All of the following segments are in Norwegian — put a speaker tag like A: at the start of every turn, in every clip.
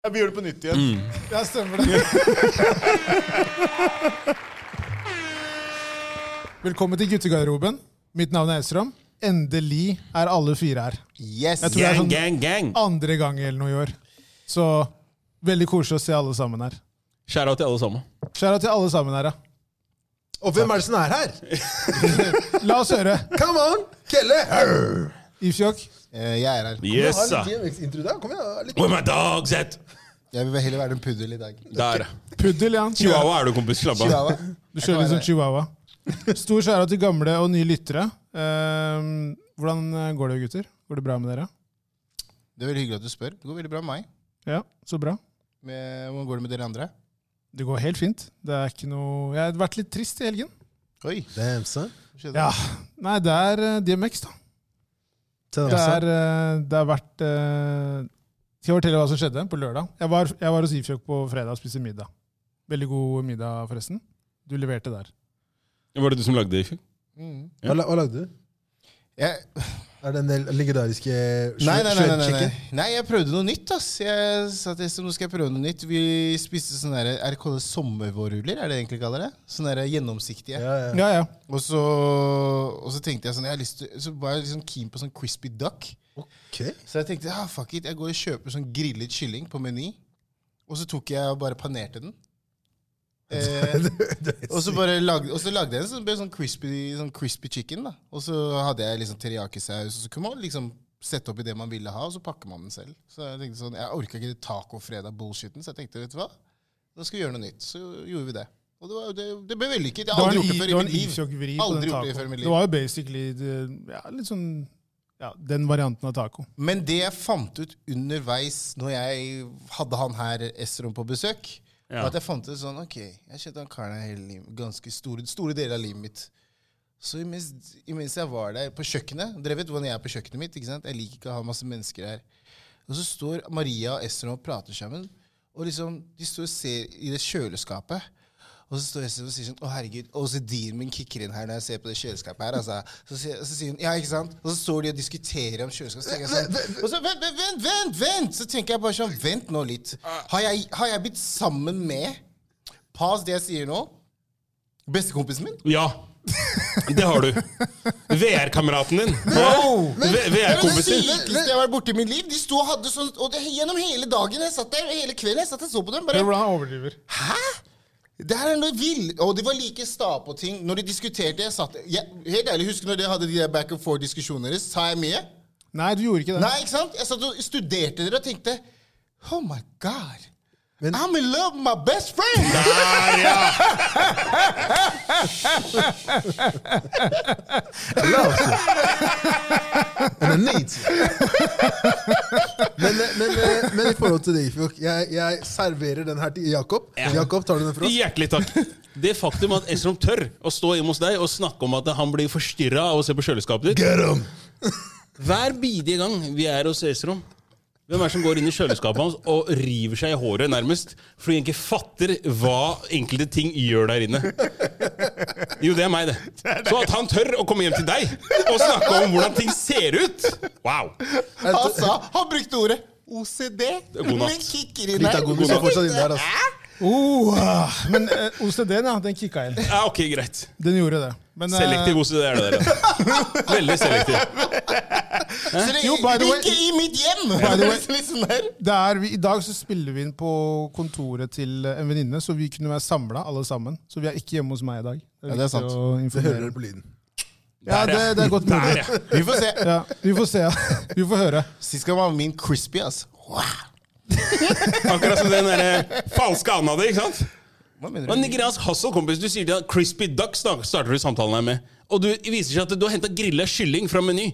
A: Jeg vil gjøre det på nytt igjen.
B: Ja, stemmer det. Velkommen til guttegarderoben. Mitt navn er Elstrøm. Endelig er alle fire her.
A: Yes!
B: Jeg tror det er
C: Gang,
B: sånn
C: gang, gang!
B: andre gang eller noe i år. Så veldig koselig å se alle sammen her.
C: Skjæra til alle sammen.
B: Skjæra til alle sammen her, ja.
A: Og hvem er det som er her?
B: La oss høre.
A: Come on! Kelle!
B: Ifjok.
D: Eh, jeg er her.
C: Yes,
A: ha
C: da.
A: litt DMX-intro der. Kom igjen, ha litt.
C: Where my dogs at?
D: Jeg vil heller være en puddel i dag.
C: Der.
B: Puddel, ja.
C: Chihuahua er du, kompis. Slapp av.
D: Chihuahua.
B: Du liksom kjører litt som chihuahua. Stor skjæra til gamle og nye lyttere. Ehm, hvordan går det, gutter? Går det bra med dere?
D: Det er veldig hyggelig at du spør. Det går veldig bra med meg.
B: Ja, så bra.
D: Med, hvordan går det med dere andre?
B: Det går helt fint. Det er ikke noe Jeg har vært litt trist i helgen.
D: Oi,
E: Damn, son.
B: Ja. Nei, det er eh, DMX, da.
E: Tell
B: Det,
E: them, son.
B: er, eh, det har vært eh, Skal jeg fortelle hva som skjedde på lørdag? Jeg var, jeg var hos Ifjok på fredag og spiste middag. Veldig god middag, forresten. Du leverte der.
C: Var det du som lagde det? Ifjok?
E: Hva, la- hva lagde du?
D: Jeg,
E: Er det den del- legendariske shred-
D: nei, nei, nei, nei, nei,
E: shred-chicken?
D: nei. nei, jeg prøvde noe nytt. ass. Jeg sa til Esther nå skal jeg prøve noe nytt. Vi spiste sånne der, er det kallet sommervårruller? Er det det egentlig kaller det? Sånne der gjennomsiktige.
E: Ja, ja.
B: Ja, ja.
D: Og, så, og så tenkte jeg sånn, jeg har lyst til, så var jeg liksom keen på sånn crispy duck.
E: Ok.
D: Så jeg tenkte ah, fuck it, jeg går og kjøper sånn grillet kylling på Meny. Og så tok jeg og bare panerte den. Eh, og, så bare lagde, og så lagde jeg en sånn, ble sånn, crispy, sånn crispy chicken. da. Og så hadde jeg liksom teriyaki-saus. og Så kunne man liksom sette oppi det man ville ha, og så pakker man den selv. Så Jeg tenkte sånn, jeg orka ikke det taco-fredag-bullshiten, så jeg tenkte vet du hva, nå skal vi gjøre noe nytt. Så gjorde vi det. Og det, var, det, det ble vellykket. Jeg
B: Det
D: har
B: var
D: aldri
B: en, i- det
D: gjort det før i
B: var en
D: mitt liv.
B: Ifjok-vri på
D: Aldri
B: den
D: gjort det før i
B: tacoen.
D: mitt liv.
B: Det var jo basically det- ja, litt sånn ja, den varianten av taco.
D: Men det jeg fant ut underveis når jeg hadde han her Esrom på besøk,
C: Ja.
D: var at jeg fant ut sånn Ok, jeg har kjent han karen her hele livet, ganske store, store deler av livet mitt. Så imens, imens jeg var der på kjøkkenet Dere vet hvordan jeg er på kjøkkenet mitt. ikke sant? Jeg liker ikke å ha masse mennesker her. Og så står Maria og Esrom og prater sammen. Og liksom, de står og ser i det kjøleskapet. Og så står Esrom og sier sånn Å, herregud, OCD-en min kicker inn her når jeg ser på det kjøleskapet her. altså. Så sier, så sier hun Ja, ikke sant? Og så står de og diskuterer om kjøleskap. Så tenker jeg sånn, og så vent, vent, vent, vent! vent! Så tenker jeg bare sånn Vent nå litt. Har jeg, har jeg blitt sammen med Pas det jeg sier nå. Bestekompisen min?
C: Ja. Det har du. VR-kameraten din. V- VR-kompisen din.
D: sykeste jeg har vært borti i mitt liv. De sto og hadde sånn Og det, gjennom hele dagen jeg satt der, og hele kvelden jeg satt og så på dem.
B: Hør
D: bare...
B: hvordan han overdriver.
D: Hæ?! Det her er noe vill. Og de var like sta på ting. Når de diskuterte jeg satt, jeg, Helt ærlig, husker du når dere hadde de der back and forth-diskusjonene deres? Sa jeg mye?
B: Nei, du gjorde ikke det.
D: Nei, ikke sant? Jeg satt og studerte dere og tenkte Oh my God!
E: Men-
D: I'm in love with my best friend!
C: Der, ja.
E: And I need you. men, men, men, men i forhold til det, Ifjok, jeg, jeg serverer den her til Jakob.
C: Ja.
E: Jakob, tar du den for oss?
C: Hjertelig takk. Det faktum at Esrom tør å stå hjemme hos deg og snakke om at han blir forstyrra av å se på kjøleskapet ditt
E: Get him!
C: Hver bidige gang vi er hos Esrom hvem er det som går inn i kjøleskapet hans og river seg i håret nærmest fordi han ikke fatter hva enkelte ting gjør der inne? Jo, det er meg, det. Så at han tør å komme hjem til deg og snakke om hvordan ting ser ut! Wow!
D: Han sa Han brukte ordet OCD.
C: God natt.
D: Men kicker inn her.
E: Pitagonas er fortsatt inne der, altså.
B: Oh, ah, men eh, OCD-en, ja, den kicka inn.
C: Ja, ok, greit.
B: Den gjorde det. Men, eh,
C: Selektiv OCD er det der. da. Veldig selektiv.
D: Så det,
B: Jo, by the way-
D: Ikke i mitt hjem!
B: the way-
D: Litt sånn der.
B: Det er, vi, I dag så spiller vi inn på kontoret til eh, en venninne, så vi kunne være samla alle sammen. Så vi er ikke hjemme hos meg i dag.
D: Ja, det er
B: viktig
D: sant.
B: å
E: Det hører
B: informere.
E: dere på lyden.
B: Ja, det, det er godt mulig.
C: Der, ja.
D: Vi får se.
B: Ja, vi får se. Vi får høre.
D: Sist gang var min crispy, altså. Wow.
C: Akkurat som den derre falske anda di, ikke sant?
D: Hva mener
C: Det var en nigeriansk hustle, kompis. Du sier til han Crispy Duck snak- starter du samtalen her med. Og du det viser seg at du har henta grilla kylling fra Meny.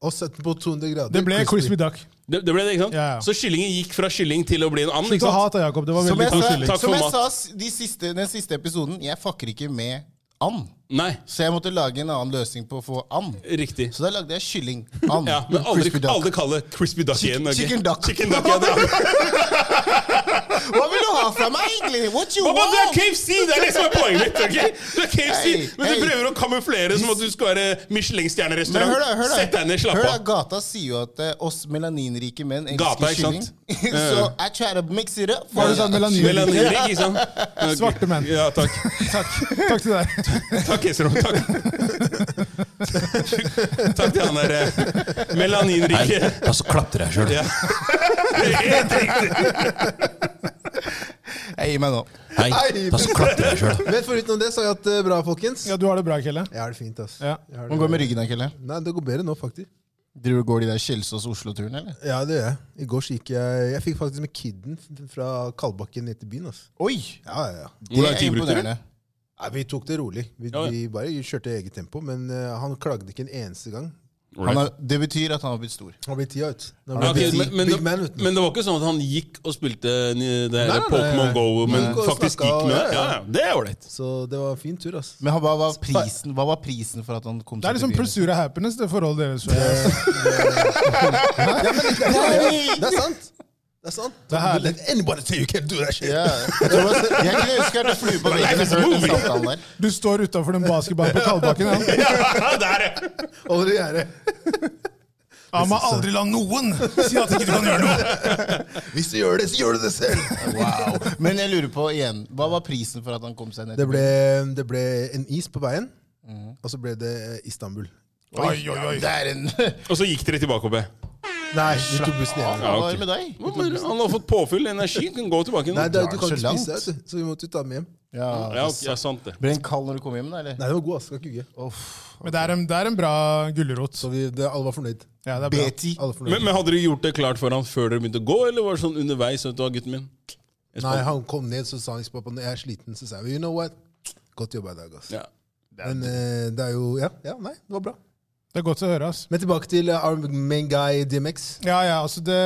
E: Og 17 på 200 grader.
B: Det ble Crispy Duck.
C: Det, det ble det, ikke sant?
B: Ja, ja.
C: Så kyllingen gikk fra kylling til å bli en and.
B: Slutt
C: ikke
B: å
C: sant?
B: hate Jakob. Det var
D: Som
B: veldig
D: jeg sa,
C: takk. Takk
D: som
C: for
D: jeg
C: mat.
D: sa s- de siste, den siste episoden, jeg fucker ikke med and.
C: Nei,
D: Så jeg måtte lage en annen løsning på å få and.
C: riktig.
D: Så da lagde jeg kylling. And.
C: Ja, Men aldri,
D: Crispy duck.
C: aldri kall det Crispy Duck igjen. ok?
D: chicken duck.
C: Chicken duck ja, da.
D: Hva vil du ha ta fra meg, egentlig? What you
C: Pappa, du er
D: want?
C: KFC! Det er det som er poenget mitt. ok? Du er KFC,
D: Hei,
C: Men du
D: hei.
C: prøver å kamuflere som at du skal være
D: Men
C: Michelin-stjernerestaurant.
D: hør da, hør da.
C: Sett deg ned, slapp
D: Hør da,
C: av.
D: Gata sier jo at eh, oss melaninrike menn elsker
C: Gata, ikke
D: kylling.
C: sant?
D: Så I try to mix it up.
B: Hva er det du sa, melanin?
C: Melanin, ikke sant? Ok.
B: Svarte menn.
C: Ja, takk.
B: Takk, takk til deg.
C: Takk, Esrom. Takk. takk til han der eh, melaninrike.
F: Og så klapper jeg sjøl.
C: Ja. Helt riktig.
D: Jeg gir meg sånn? nå.
F: Hei, og så klapper jeg sjøl.
E: Men foruten det så har jeg hatt det bra, folkens.
B: Ja, Du har det bra, Kelle?
E: Jeg har det fint, ass.
B: Ja.
E: Jeg har
D: Hvordan
E: det.
D: går det med ryggen, da, Kelle?
E: Nei, det går bedre nå, faktisk.
D: Driver Går de der Kjelsås-Oslo-turen, eller?
E: Ja, det gjør jeg. I går så gikk jeg Jeg fikk faktisk med kidden fra Kalbakken ned til byen. ass.
D: Oi!
E: Ja, ja, ja.
D: Det
C: lang
D: er
C: tid brukte du?
D: imponerende.
E: Nei, vi tok det rolig. Vi,
C: Ja, ja.
E: vi bare kjørte i eget tempo. Men eh, han klagde ikke en eneste gang.
D: Han har, det betyr at han har blitt stor.
E: Han blir tida ut. Nå
C: Ja,
E: blir
C: ok,
E: big-
C: men, men,
E: big man,
C: det,
E: vet du.
C: men det var ikke sånn at han gikk og spilte ni- det her
E: Nei, nei,
C: Pokémon
E: nei.
C: Go, men
E: Gikk og
C: faktisk
E: snakket
C: gikk
E: og-
C: med
E: ja,
C: Ja,
E: ja.
C: ja, Det er ålreit.
E: Så det var en fin tur, altså. ass.
D: Men han- hva var prisen, hva var prisen for at han kom
B: Det er liksom Pulsura happiness, det forholdet deres. Det
D: plutselig
E: Det er sant! Det er sant.
B: er herlig.
E: Anybody say you can do that shit.
D: Ja. Jeg tror det var- jeg kunne ønske at jeg flue på
C: liksom
D: veggen og hørte den samtalen der.
B: Du står utafor den basketballen på Kalbakken. Ja.
C: Ja, der, ja.
E: Over i gjerdet.
B: Ja, må aldri la noen si at ikke du kan gjøre noe!
E: Hvis du gjør det, så gjør du det selv!
D: Wow. Men jeg lurer på igjen, hva var prisen for at han kom seg ned?
E: Det ble, det ble en is på veien, og så ble det Istanbul.
D: Oi, oi, oi. Det er en
C: Og så gikk dere tilbake opp. jeg.
E: Nei, vi tok bussen igjen.
D: Hva var det med deg?
C: Hva, men Han har fått påfyll energi. Kan gå tilbake nå.
E: Nei, det,
D: drar
E: du
D: den
E: kan ikke
D: så langt.
E: spise, vet du, så vi måtte jo ta den med hjem. Nei,
D: Ja,
C: Ja, ok, ja, sant det.
D: Ble den kald når du kom hjem, da? eller?
E: den var god, ass. Skal ikke ljuge.
B: Men det er en, det er en bra gulrot.
E: Så vi, det, alle var fornøyd.
B: Ja, det er bra.
D: Beti.
E: Alle fornøyd.
C: Men, men Hadde dere gjort det klart for han før dere begynte å gå, eller var det sånn underveis? at du var gutten min? Jeg
E: Nei,
C: spør-
E: han kom ned, så sa han ikke pappa, når jeg er sliten, så sa jeg you know what, godt jobba i dag, ass.
C: Ja.
E: Men eh, det er jo ja, ja, nei, det var bra.
B: Det er godt å høre. ass.
E: Men tilbake til eh, our main guy DMX.
B: Ja, ja, altså det,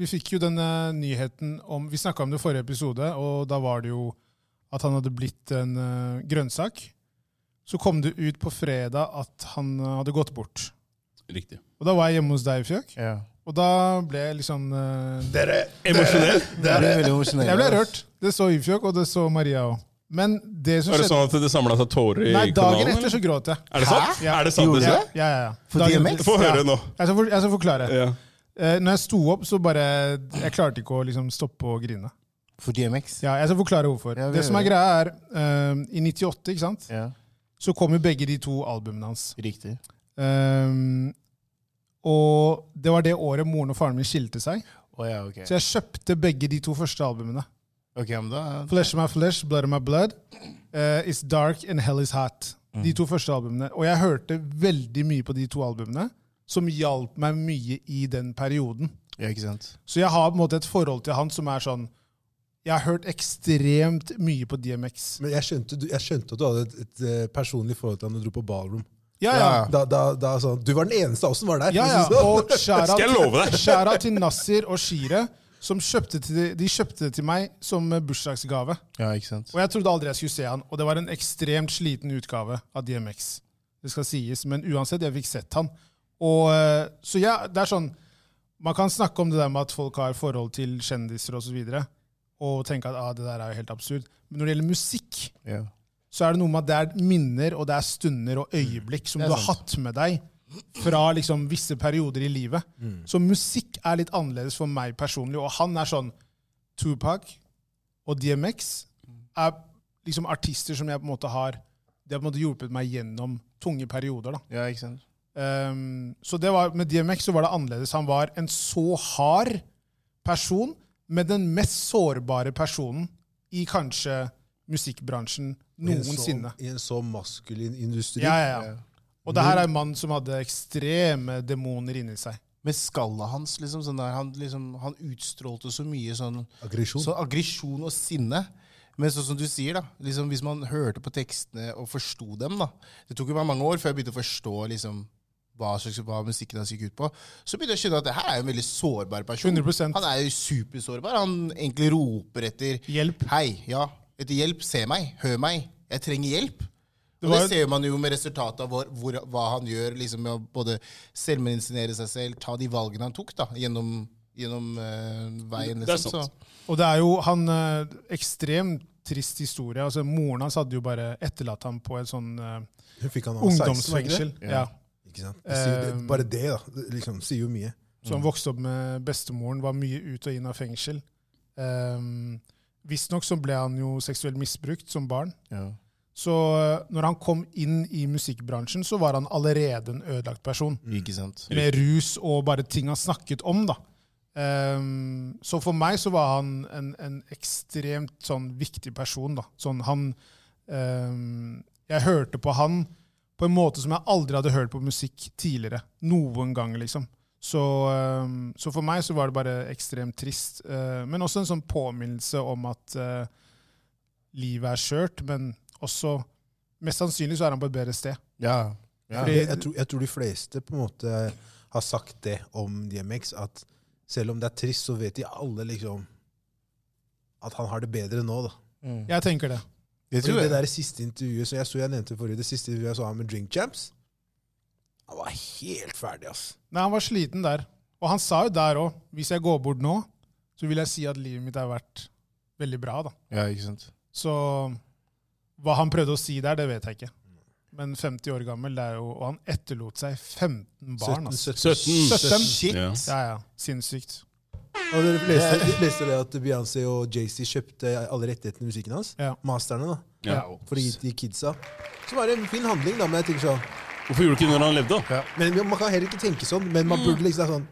B: Vi fikk jo denne nyheten om Vi snakka om det i forrige episode, og da var det jo at han hadde blitt en eh, grønnsak. Så kom det ut på fredag at han eh, hadde gått bort.
C: Riktig.
B: Og da var jeg hjemme hos deg, Fjøk.
D: Ja.
B: Og da ble jeg liksom eh,
C: Emosjonell?
D: Det ble veldig emosjonell.
B: Jeg ble
D: ass.
B: rørt. Det så Yfjok, og det så Maria òg. Men det som
C: Er det
B: skjedde
C: sånn at det samla seg tårer i
B: Nei, dagen
C: kanalen?
B: etter så gråt jeg.
C: Er det sant?
B: Ja.
C: Er det sant?
B: Ja,
C: det?
B: ja, ja, ja.
D: For
B: Dagen-
D: DMX?
C: Få høre
B: Ja.
C: nå.
B: Jeg skal, for, jeg skal forklare.
C: Ja.
B: Eh, når jeg sto opp, så bare Jeg klarte ikke å liksom stoppe å grine.
D: For DMX.
B: Ja, jeg skal forklare hvorfor.
D: Ja, vi
B: det som er
D: gjør
B: greia,
D: det.
B: er eh, I 98, ikke sant,
D: Ja,
B: så kom jo begge de to albumene hans.
D: Riktig.
B: Eh, og det var det året moren og faren min skilte seg.
D: Å ja, ok.
B: Så jeg kjøpte begge de to første albumene.
D: Ok, men da...
B: Flesh of my flesh, blood of my blood. eh, it's dark and hell is hot.
D: Mm.
B: De to første albumene. Og jeg hørte veldig mye på de to albumene, som hjalp meg mye i den perioden.
D: Ja, ikke sant?
B: Så jeg har på en måte et forhold til han som er sånn Jeg har hørt ekstremt mye på DMX.
E: Men jeg skjønte, du- jeg skjønte at du hadde et, et eh, personlig forhold til han da du dro på ballroom.
B: Ja, ja.
E: Da, da, da, sånn, du var den eneste av oss som var der.
B: ja, ja. Og skjæra
C: Skal jeg love deg?
B: skjæra til Nasir og Shire, som kjøpte til, de kjøpte det til meg som eh, bursdagsgave.
D: Ja, ikke sant?
B: Og jeg trodde aldri jeg skulle se han, og det var en ekstremt sliten utgave av DMX. Det skal sies, men uansett, jeg fikk sett han. Og, eh, så ja, det er sånn, man kan snakke om det der med at folk har forhold til kjendiser og så videre, og tenke at ah, det der er jo helt absurd. Men når det gjelder musikk,
D: Ja.
B: så er det noe med at det er minner, og det er stunder og øyeblikk som
D: Det
B: du
D: er
B: har
D: sant.
B: hatt med deg fra liksom visse perioder i livet.
D: Mm.
B: Så musikk er litt annerledes for meg personlig, og han er sånn Tupac og DMX er liksom artister som jeg på en måte har Det har på en måte hjulpet meg gjennom tunge perioder. da.
D: ja, ikke sant?
B: Ehm, så det var, Med DMX så var det annerledes. Han var en så hard person, men den mest sårbare personen i kanskje musikkbransjen noensinne.
E: I en så maskulin industri.
B: Ja, ja, ja. Og det her er en mann som hadde ekstreme demoner inni seg.
D: Med skallet hans, liksom, sånn der, han, liksom, han utstrålte så mye sånn
E: Aggresjon.
D: sånn aggresjon og sinne. Men sånn som du sier, da, liksom, hvis man hørte på tekstene og forsto dem da, Det tok jo meg mange år før jeg begynte å forstå liksom, hva, slags, hva musikken hans gikk ut på. Så begynte jeg å skjønne at det her er jo en veldig sårbar person.
B: 100%.
D: Han er jo supersårbar. Han egentlig roper etter
B: Hjelp.
D: Hei, ja. Etter hjelp. Se meg. Hør meg. Jeg trenger hjelp.
B: Det
D: Og
B: var
D: det
B: jo-
D: ser man jo med resultatet av hvor, hvor, hva han gjør, liksom med å både selvmedisinere seg selv, ta de valgene han tok da, gjennom gjennom eh, veien.
C: Det er
D: nesten,
C: sant.
B: Og det er jo han eh, ekstremt trist historie. Altså, moren hans hadde jo bare etterlatt ham på et sånn eh,
E: Hun fikk han da han var 16, var ikke det?
B: ungdomsfengsel. Ja.
E: Ikke sant? Det sier, jo-
B: Um,
E: det, bare det, da. Det liksom, sier jo mye.
B: Så han vokste opp med bestemoren, var mye ut og inn av fengsel. Um, Visstnok så ble han jo seksuelt misbrukt som barn.
D: Ja.
B: Så eh, når han kom inn i musikkbransjen, så var han allerede en ødelagt person.
D: Ikke sant?
B: Med rus og bare ting han snakket om, da. Um, så for meg så var han en, en ekstremt sånn viktig person, da. Sånn han um, Jeg hørte på han på en måte som jeg aldri hadde hørt på musikk tidligere. Noen gang, liksom. Så, um, så for meg så var det bare ekstremt trist. eh, men også en sånn påminnelse om at eh, livet er skjørt, men også Mest sannsynlig så er han på et bedre sted.
D: Ja. Ja.
E: Jeg, jeg, tror, jeg tror de fleste på en måte har sagt det om DMX, at selv om det er trist, så vet de alle liksom at han har det bedre nå, da.
B: Jeg tenker det.
D: Det
E: Fordi
D: tror
E: det
D: jeg.
E: der siste intervjuet som jeg så jeg nevnte forrige, det siste intervjuet jeg så han med Drink Champs, han var helt ferdig, ass.
B: Nei, han var sliten der. Og han sa jo der òg hvis jeg går bort nå, så vil jeg si at livet mitt har vært veldig bra. da.
D: Ja, ikke sant?
B: Så hva han prøvde å si der, det vet jeg ikke. Men 50 år gammel, det er jo, og han etterlot seg 15 barn. altså.
C: 17.
B: 17?
D: Shit!
C: Ja.
B: Ja, ja. Sinnssykt.
E: Og dere leste, dere leste det at Beyoncé og Jay-Z kjøpte alle rettighetene i musikken hans?
B: Ja.
E: Masterne, da.
C: Ja.
E: For å gi til kidsa. Som var det en fin handling, da. Men jeg tenker sånn
C: Hvorfor gjorde du ikke det når han levde, da?
E: Men man kan heller ikke tenke sånn, men
D: Mm.
E: man burde liksom sånn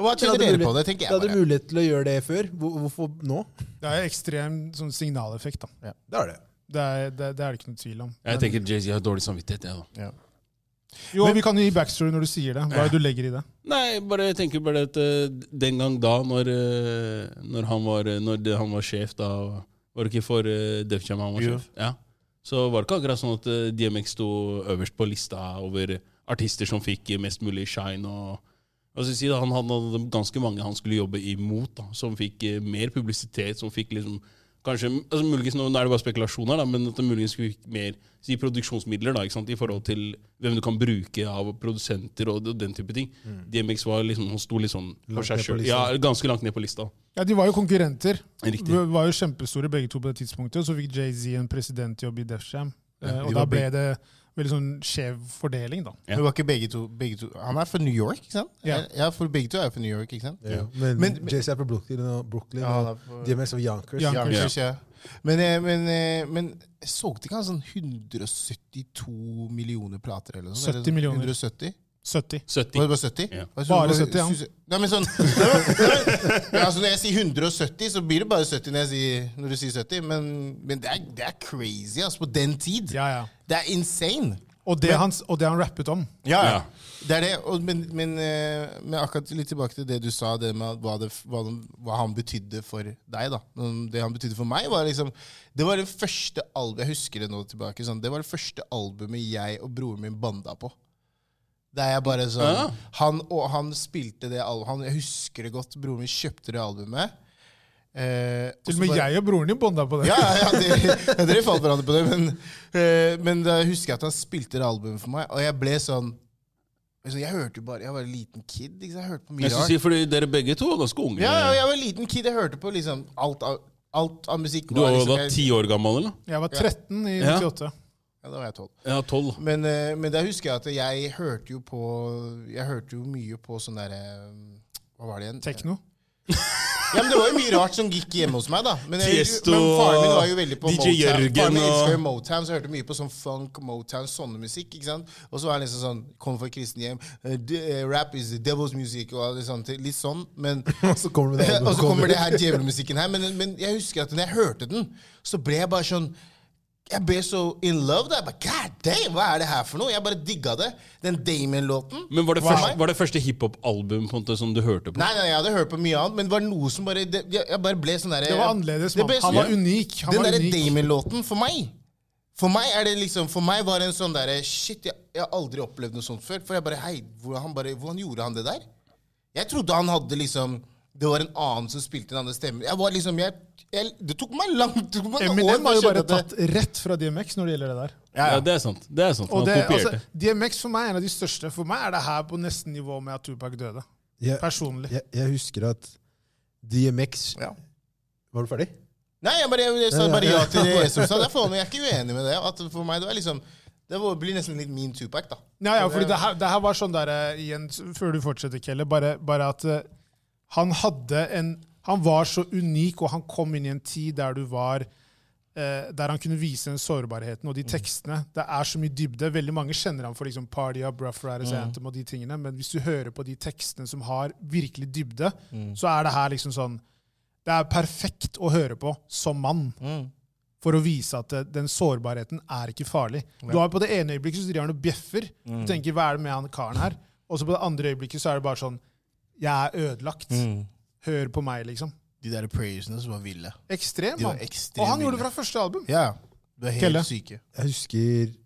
D: Og Hva
E: Dere
D: tjener
E: hadde
D: dere på
E: mulighet-
D: det, tenker
E: dere
D: jeg
E: hadde
D: bare.
E: mulighet til å gjøre det før. Hvor- Hvorfor nå?
B: Det er ekstrem sånn signaleffekt. da.
E: Det er det.
B: Det er det, det er det ikke noe tvil om.
C: Jeg tenker Jay-Z har dårlig samvittighet, jeg, da.
D: Ja.
B: Jo, Vi kan jo gi backstory når du sier det. Hva er det du legger i det?
C: Nei, bare jeg tenker bare at eh, den gang da, når, eh, når, han, var, når det, han var sjef da Var det ikke for uh, Def Jam han var
D: Jo.
C: sjef? Ja. Så var det ikke akkurat sånn at eh, DMX sto øverst på lista over artister som fikk mest mulig shine. og altså, si da, Han hadde ganske mange han skulle jobbe imot, da, som fikk eh, mer publisitet. som fikk liksom Kanskje, altså muligens, Nå nå er det bare spekulasjoner, da, men at det muligens skulle fikk mer si, produksjonsmidler da, ikke sant, i forhold til hvem du kan bruke av produsenter og den type ting. DMX var liksom, han sto litt sånn for seg
E: ned på
C: selv.
E: lista.
C: Ja, ganske langt ned på lista.
B: Ja, De var jo konkurrenter.
C: Riktig.
B: De var jo kjempestore begge to på det tidspunktet. Og så fikk Jay-Z en presidentjobb i Def Jam. Eh,
D: de
B: og da
D: var
B: ble det veldig sånn skjev fordeling, da.
C: Ja.
D: Men var ikke begge to, begge to Han er fra New York, ikke sant? Eh,
B: Ja.
D: ja for begge to er jo fra New York, ikke sant?
E: Ja. Men,
D: Men-
E: Jay-Z er på Brooklyn, og Brooklyn
D: Ja,
E: og DMX og Yonkers.
B: Ja.
D: Yonkers, ja. Men, eh, men, eh, men jeg solgte ikke han sånn 172 millioner plater? eller noe? sånt, eller
B: 70 millioner.
D: 170?
B: 70.
C: 70.
D: Var det bare 70?
C: Ja.
D: Jeg tror
B: Bare
D: det var-
B: 70, ja.
D: synes jeg- Nei, men sånn, ja, altså når jeg sier 170, så blir det bare 70 når, jeg sier, når du sier 70. Men, men det, er, det er crazy, altså. På den tid.
B: Ja, ja.
D: Det er insane.
B: Og det, han, og det han rappet om.
D: Ja,
C: Ja.
D: Det er det. Og, men, men, eh, men akkurat litt tilbake til det du sa, det med at hva, det, hva, den- hva han betydde for deg. da. Mm, Det han betydde for meg, var liksom Det var det første albumet jeg husker det nå tilbake, sånn, det var det første albumet jeg og broren min banda på. Der jeg bare sånn,
C: Ja.
D: han, og han spilte det albumet. Jeg husker det godt. Broren min kjøpte det albumet. Eh, og
B: Til
D: så
B: og med
D: bare-
B: jeg og broren din bonda på det.
D: ja, ja, ja dere, ja, dere falt hverandre på det. Men, eh, men da husker jeg at han spilte det albumet for meg, og jeg ble sånn altså, Jeg hørte jo bare, jeg var en liten kid. Ikke sant? Jeg hørte på mye
C: Jeg skulle
D: rart.
C: si, fordi Dere begge to var ganske unge.
D: Ja, ja, jeg var en liten kid. Jeg hørte på liksom alt av, alt av musikk.
C: Du var jo
D: liksom,
C: da ti år gammel, eller?
B: Jeg var 13 i
C: Ja.
B: 98.
D: Ja, da var jeg tolv.
C: Ja, tolv.
D: Men, eh, men da husker jeg at jeg hørte jo på Jeg hørte jo mye på sånn derre Hva var det igjen?
B: Tekno.
D: Ja, men Det var jo mye rart som gikk hjemme hos meg, da. Men, jeg,
C: Tiesto,
D: men faren min var jo veldig på
C: DJ
D: Motown.
C: Jørgen
D: Faren min elsker
C: og-
D: jo Motown, så jeg hørte mye på sånn funk, Motown, sånne musikk. ikke sant? Og så var han liksom sånn Kom fra kristne hjem. eh, d- eh, Rap is the devil's music. og alle sånne ting. Litt sånn, men
E: Og så kommer det
D: Og så kommer det her djevelmusikken her. Men, men jeg husker at når jeg hørte den, så ble jeg bare sånn jeg ble så in love. da. Jeg bare, God damn, Hva er det her for noe? Jeg bare digga det. Den Damon-låten.
C: Men var det,
D: Wow.
C: første, var det første hiphop-album på en måte som du hørte på?
D: Nei, nei, jeg hadde hørt på mye annet, men det var noe som bare det, Jeg jeg bare ble sånn der,
B: Det var annerledes.
D: Det
B: Man.
D: ble sånn-
B: Han var unik. Han
D: den
B: var
D: derre
B: unik.
D: Damon-låten, for meg For meg er det liksom For meg var det en sånn derre Shit, jeg, jeg har aldri opplevd noe sånt før. For jeg bare Hei, hvordan, han bare, hvordan gjorde han det der? Jeg trodde han hadde liksom Det var en annen som spilte en annen stemme. Jeg var liksom jeg, jeg, Det tok meg langt det tok meg
B: Eminem var jo
D: for å
B: bare
D: skjønne at
B: tatt rett fra DMX når det gjelder det der.
C: Ja, det er sant. det er sant.
B: Og
C: Han
B: det,
C: kopierte.
B: altså, DMX for meg er en av de største. For meg er det her på nesten nivå med at Tupac døde.
E: Jeg,
B: Personlig.
E: jeg, jeg husker at DMX
D: Ja.
E: Var du ferdig?
D: Nei, jeg bare, jeg sa
E: Ja, ja,
D: bare
E: ja.
D: ja til det Esrom sa. Det er faen meg- Jeg er ikke uenig med det. At for meg, det var liksom Det var- blir nesten litt min Tupac, da.
B: Ja, ja, fordi det her, det her var sånn der eh, igjen, s- Før du fortsetter, Kelle, bare, bare at eh, han hadde en Han var så unik, og han kom inn i en tid der du var eh, der han kunne vise den sårbarheten og de tekstene. Det er så mye dybde. Veldig mange kjenner han for liksom Party Up, Rough Riders Anthem og de tingene, men hvis du hører på de tekstene som har virkelig dybde, så er det her liksom sånn Det er perfekt å høre på som mann. For å vise at eh, den sårbarheten er ikke farlig. Du har På det ene øyeblikket så driver han og bjeffer. Du tenker, hva er det med han karen her? Og så på det andre øyeblikket så er det bare sånn Jeg er ødelagt. Hør på meg, liksom.
D: De der prayersene som var ville.
B: Ekstrem,
D: De var
B: mann.
D: ekstremt
B: Og han gjorde det
D: ville.
B: fra første album.
D: Ja. Du er helt
B: Kelle.
D: syke.
E: Jeg husker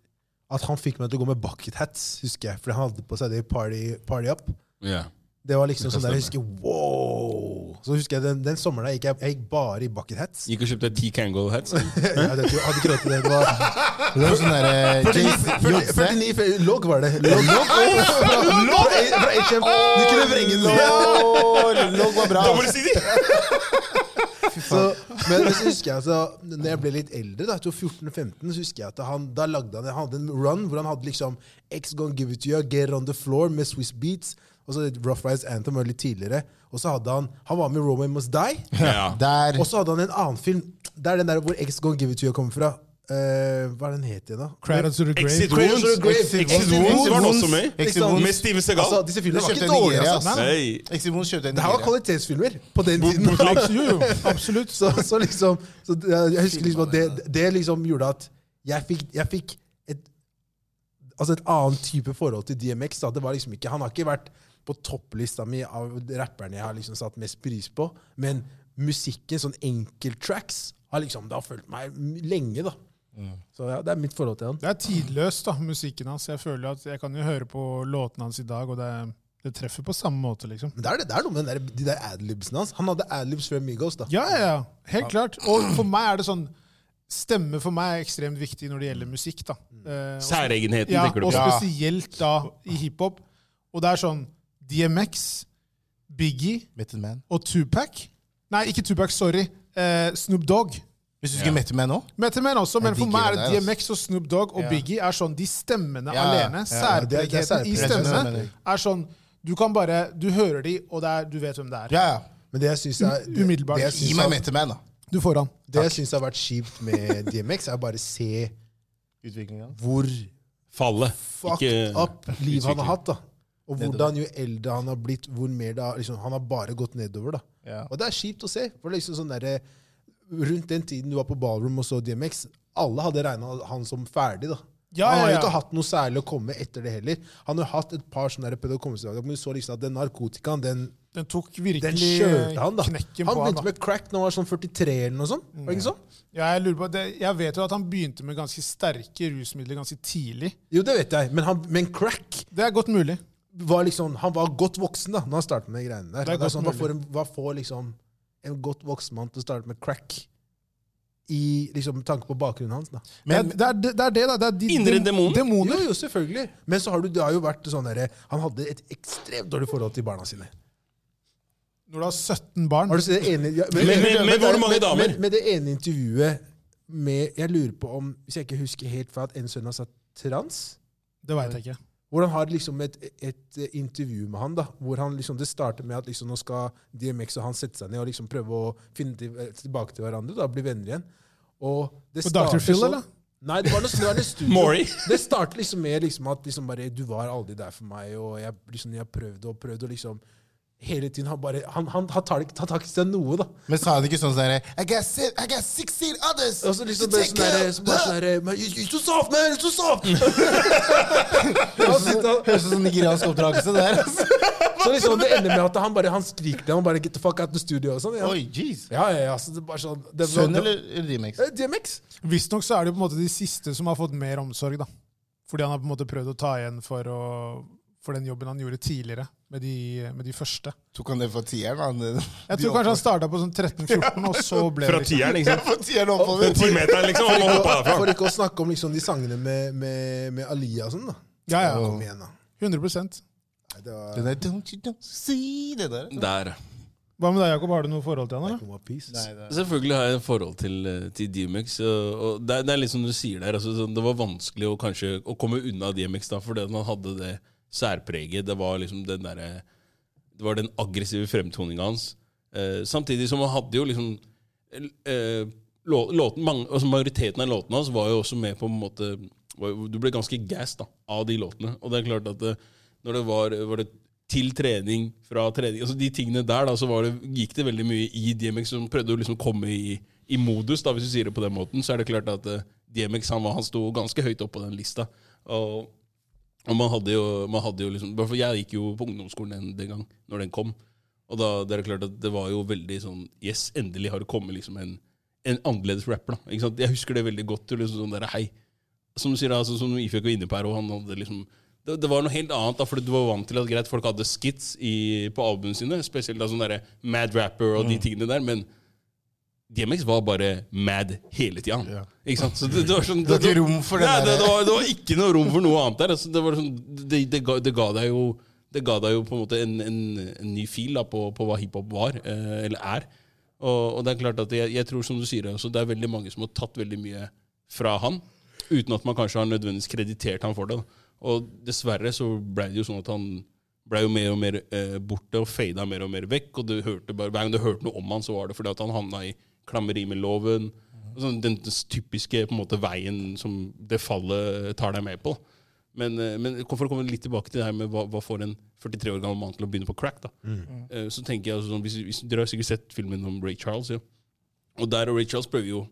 E: at han fikk meg til å gå med bucket hats, husker jeg. Fordi han hadde på seg det i Party, party Up.
G: Ja.
E: Det var liksom
G: Det kan
E: sånn der jeg husker wow! Så husker jeg den, den sommeren der gikk jeg, jeg gikk bare i bucket hats.
G: Gikk og kjøpte ti Kangol-hats.
E: Jeg hadde ikke hadde ikke råd til det. Det var
D: Det var sånn derre
E: 49 fe- log var det. Log, log, fra, fra, fra HM. Du kunne vrenge den.
D: Logg var bra. ass.
E: Så, men men så husker jeg altså, når jeg ble litt eldre, da, til 14-15, så husker jeg at han, da lagde han, han hadde en run hvor han hadde liksom X gonna give it to you, get on the floor med Swiss Beats. Og så Rough Rides Anthem var litt tidligere. Og så hadde han Han var med i Roman Must Die.
G: Ja.
D: Der.
E: Og så hadde han en annen film. Det er den der hvor X gonna give it to you kommer fra. Eh, hva er den het igjen, da?
B: Crowd Out to the Grave.
G: Exit Wounds.
E: Exit Wounds.
G: Exit Wounds var den også med i.
D: Exit Wounds.
G: Med Steven
E: Altså,
G: Segal.
E: disse
D: Jeg
E: filmene var ikke
D: kjøpte en
E: dårlige.
D: Nigeria,
E: Altså.
D: ass.
G: Nei.
D: Eximons kjøpte en
E: Det her var
D: Nigeria.
E: kvalitetsfilmer på den tiden.
B: Jo, jo, absolutt.
E: Så, så liksom så det- Jeg husker liksom at det, det liksom gjorde at jeg fikk, jeg fikk et Altså et annet type forhold til DMX. Da. Det var liksom ikke, han har ikke vært på topplista mi av rapperne jeg har liksom satt mest pris på. Men musikken, sånn enkelttracks, har liksom det har fulgt meg m- lenge. da.
G: Mm.
E: Så ja, det er mitt forhold til han.
B: Det er tidløst, da, musikken hans. Jeg føler at jeg kan jo høre på låtene hans i dag, og det, det treffer på samme måte, liksom.
E: Men det er, det, det er noe med den der, de der adlibsene hans. Han hadde adlibs før Migos. da.
B: Ja, ja, ja. Helt klart. Og for meg er det sånn Stemme for meg er ekstremt viktig når det gjelder musikk. da. Eh, og-
G: Særegenheten,
B: ja,
G: tenker du
B: og
G: på.
B: spesielt da i hiphop. Og det er sånn DMX, Biggie
D: Method Man.
B: og Tupac Nei, ikke Tupac, sorry. Eh, Snoop Dogg.
D: Hvis du skulle mette meg nå
B: Method Man også, men
D: Jeg
B: for
D: digger
B: meg er
D: det
B: det
D: der, ass.
B: DMX og Snoop Dogg og
D: Ja.
B: Biggie er sånn De stemmene
D: Ja,
B: alene,
D: ja,
E: det er- det er
B: særpregheten i
E: særpreg.
B: stemmene,
D: Særpreg.
B: er sånn Du kan bare Du hører de, og det er, du vet hvem det er.
D: Ja, ja.
E: Men det jeg syns er, det,
B: Umiddelbart.
E: det jeg
D: Gi
E: synes
D: meg
E: er,
D: Method Man, da.
B: Du får han.
E: det jeg syns har vært kjipt med DMX, er bare se
D: Utviklinga.
E: hvor
G: Falle.
E: fucked
G: Ikke
E: up liv han har hatt. da. Og hvordan
D: Nedover.
E: jo eldre han har blitt, hvor mer det har, liksom, Han har bare gått nedover. da.
D: Ja.
E: Og det er kjipt å se. for det er liksom sånn derre, Rundt den tiden du var på ballroom og så DMX, alle hadde regna han som ferdig. da.
B: Ja,
E: han har
B: ja, ja.
E: jo ikke hatt noe særlig å komme etter det heller. Han har jo hatt et par sånne der pedagogiske men du så liksom at den narkotikaen, den,
B: Den tok virkelig
E: den kjørte han. da.
B: knekken
E: Han
B: på han.
E: begynte
B: da.
E: med crack da han var sånn 43 eller noe sånt. var det ikke sånn?
B: Ja, jeg, lurer på, det, jeg vet jo at han begynte med ganske sterke rusmidler ganske tidlig.
E: Jo, det vet jeg, men, han, men crack
B: Det er godt mulig.
E: var liksom, han var godt voksen da når han startet med de greiene der.
B: Det er
E: Det er
B: godt
E: sånn, hva,
B: mulig.
E: får en, hva får liksom en godt voksen mann til å starte med crack? I liksom, med tanke på bakgrunnen hans, da.
D: Men-
B: det, er, det, er, det er det, da. Det er de,
G: Indre
B: dem-
G: demoner?
E: Jo, jo, selvfølgelig. Men så har du, det har jo vært sånn derre Han hadde et ekstremt dårlig forhold til barna sine.
B: Når du har 17 barn
E: Har du sett det ene ja,
G: Men- men- men hvor mange
E: men-
G: damer?
E: men- Med det ene intervjuet med Jeg lurer på om, hvis jeg ikke husker helt feil, at en sønn har sagt trans?
B: Det veit jeg ikke.
E: Hvor han har liksom et, et intervju med han, da, hvor han liksom, det starter med at liksom, nå skal DMX og han sette seg ned og liksom prøve å finne til, eh, tilbake til hverandre, da, bli venner igjen. Og det
B: På
E: starter
B: Dr. Phil,
E: sånn-
B: eller?
E: Nei, det var noe, det var noe studio.
G: Maury.
E: Det starter liksom med liksom, at liksom, bare, du var aldri der for meg, og jeg, liksom, jeg prøvde og prøvde, og liksom hele tiden Han bare, han, han, han tar ikke tar tak i seg noe, da.
D: Men sa han ikke sånn sånn derre I, got si- I got 16 others!
E: Og så liksom
D: to
E: bare
D: take
E: sånn der,
D: care of!»
E: så bare sånn der, "Man, you, you're too soft, man! You're too soft!
D: Høres ut som nigeriansk oppdragelse. det der, altså.
E: Så liksom, det ender med at han bare han skriker til ham og bare 'get the fuck out of the studio' og sånn. Ja.
D: Oi, jeez.
E: Ja, ja, ja. Så det er bare sånn det,
D: Sønn eller remix?
E: Eh, DMX.
B: Visstnok så er det jo på en måte de siste som har fått mer omsorg, da. Fordi han har på en måte prøvd å ta igjen for, å, for den jobben han gjorde tidligere med de, med de første.
D: Tok han det fra tieren? han?
B: Jeg tror kanskje han starta på sånn 13-14, og så ble det
G: fra tieren, ikke
D: Ja,
G: sant?
D: fra tieren oppover.
G: Den timeteren, liksom. Han må hoppe
E: For
G: derfra.
E: ikke å snakke om liksom de sangene med, med, med Aliyah og sånn, da.
B: Ja, ja.
E: Kom igjen, da.
B: 100
H: Det var
D: Det der don't you don't see Det der.
C: Der.
B: Hva med deg, Jakob? Har du noe forhold til henne? da?
E: Come on, peace.
C: Selvfølgelig har jeg et forhold til, eh, til DMX. Og, og det, er- det er litt som du sier der, altså, sånn, det var vanskelig å, kanskje, å komme unna DMX da, fordi at han hadde det særpreget. Det var liksom den derre Det var den aggressive fremtoninga hans. Eh, samtidig som han hadde jo liksom eh, lå- låten, mange, altså Majoriteten av låtene hans var jo også med på en måte var, jo- Du ble ganske gassed da, av de låtene. Og det er klart at eh, når det var, var det til trening, fra trening altså De tingene der, da, så var det, gikk det veldig mye i DMX, som prøvde å liksom komme i, i modus, da, hvis du sier det på den måten. Så er det klart at eh, DMX han, var- han sto ganske høyt oppe på den lista. Og og man hadde jo, man hadde jo liksom i hvert fall Jeg gikk jo på ungdomsskolen den, den gang, når den kom. Og da det er klart at det var jo veldig sånn Yes, endelig har det kommet liksom en, en annerledes rapper. da, ikke sant? Jeg husker det veldig godt. liksom sånn der, hei. Som du sier, altså, som Ifjøk var inne på her, og han hadde liksom det, det var noe helt annet, da, for du var vant til at greit, folk hadde skits i, på albumene sine. Spesielt da sånn derre Mad Rapper og de
D: Mm.
C: tingene der. men DMX var bare mad hele tida. Ikke sant? Så det, det var sånn
D: Det var ikke rom for det
C: Nei,
D: der.
C: det, det, var, det var ikke noe rom for noe annet der. Altså, det, var sånn, det, det, ga, det ga deg jo Det ga deg jo på en måte en, en, en ny fil da, på, på hva hiphop var, eh, eller er. Og, og det er klart at jeg, jeg tror som du sier også, det er veldig mange som har tatt veldig mye fra han, uten at man kanskje har nødvendigvis kreditert han for det. Da. Og dessverre så ble det jo sånn at han ble jo mer og mer eh, borte og fada mer og mer vekk. Og du hørte bare, hver gang du hørte noe om han, så var det fordi at han havna i klammeri med loven. Og Sånn, den typiske på en måte, veien som det fallet tar deg med på. Men, eh, men for å komme litt tilbake til det her med hva, hva får en 43 år gammel mann til å begynne på crack, da. Eh, så tenker jeg altså, sånn, hvis, hvis, Dere har sikkert sett filmen om Ray Charles. Ja. Og der og Ray Charles prøver jo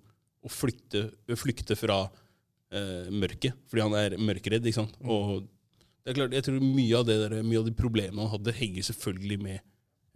C: å flytte, flykte fra eh, mørket, fordi han er mørkeredd. ikke sant? Og det er klart, jeg tror mye av, det der, mye av de problemene han hadde, henger selvfølgelig med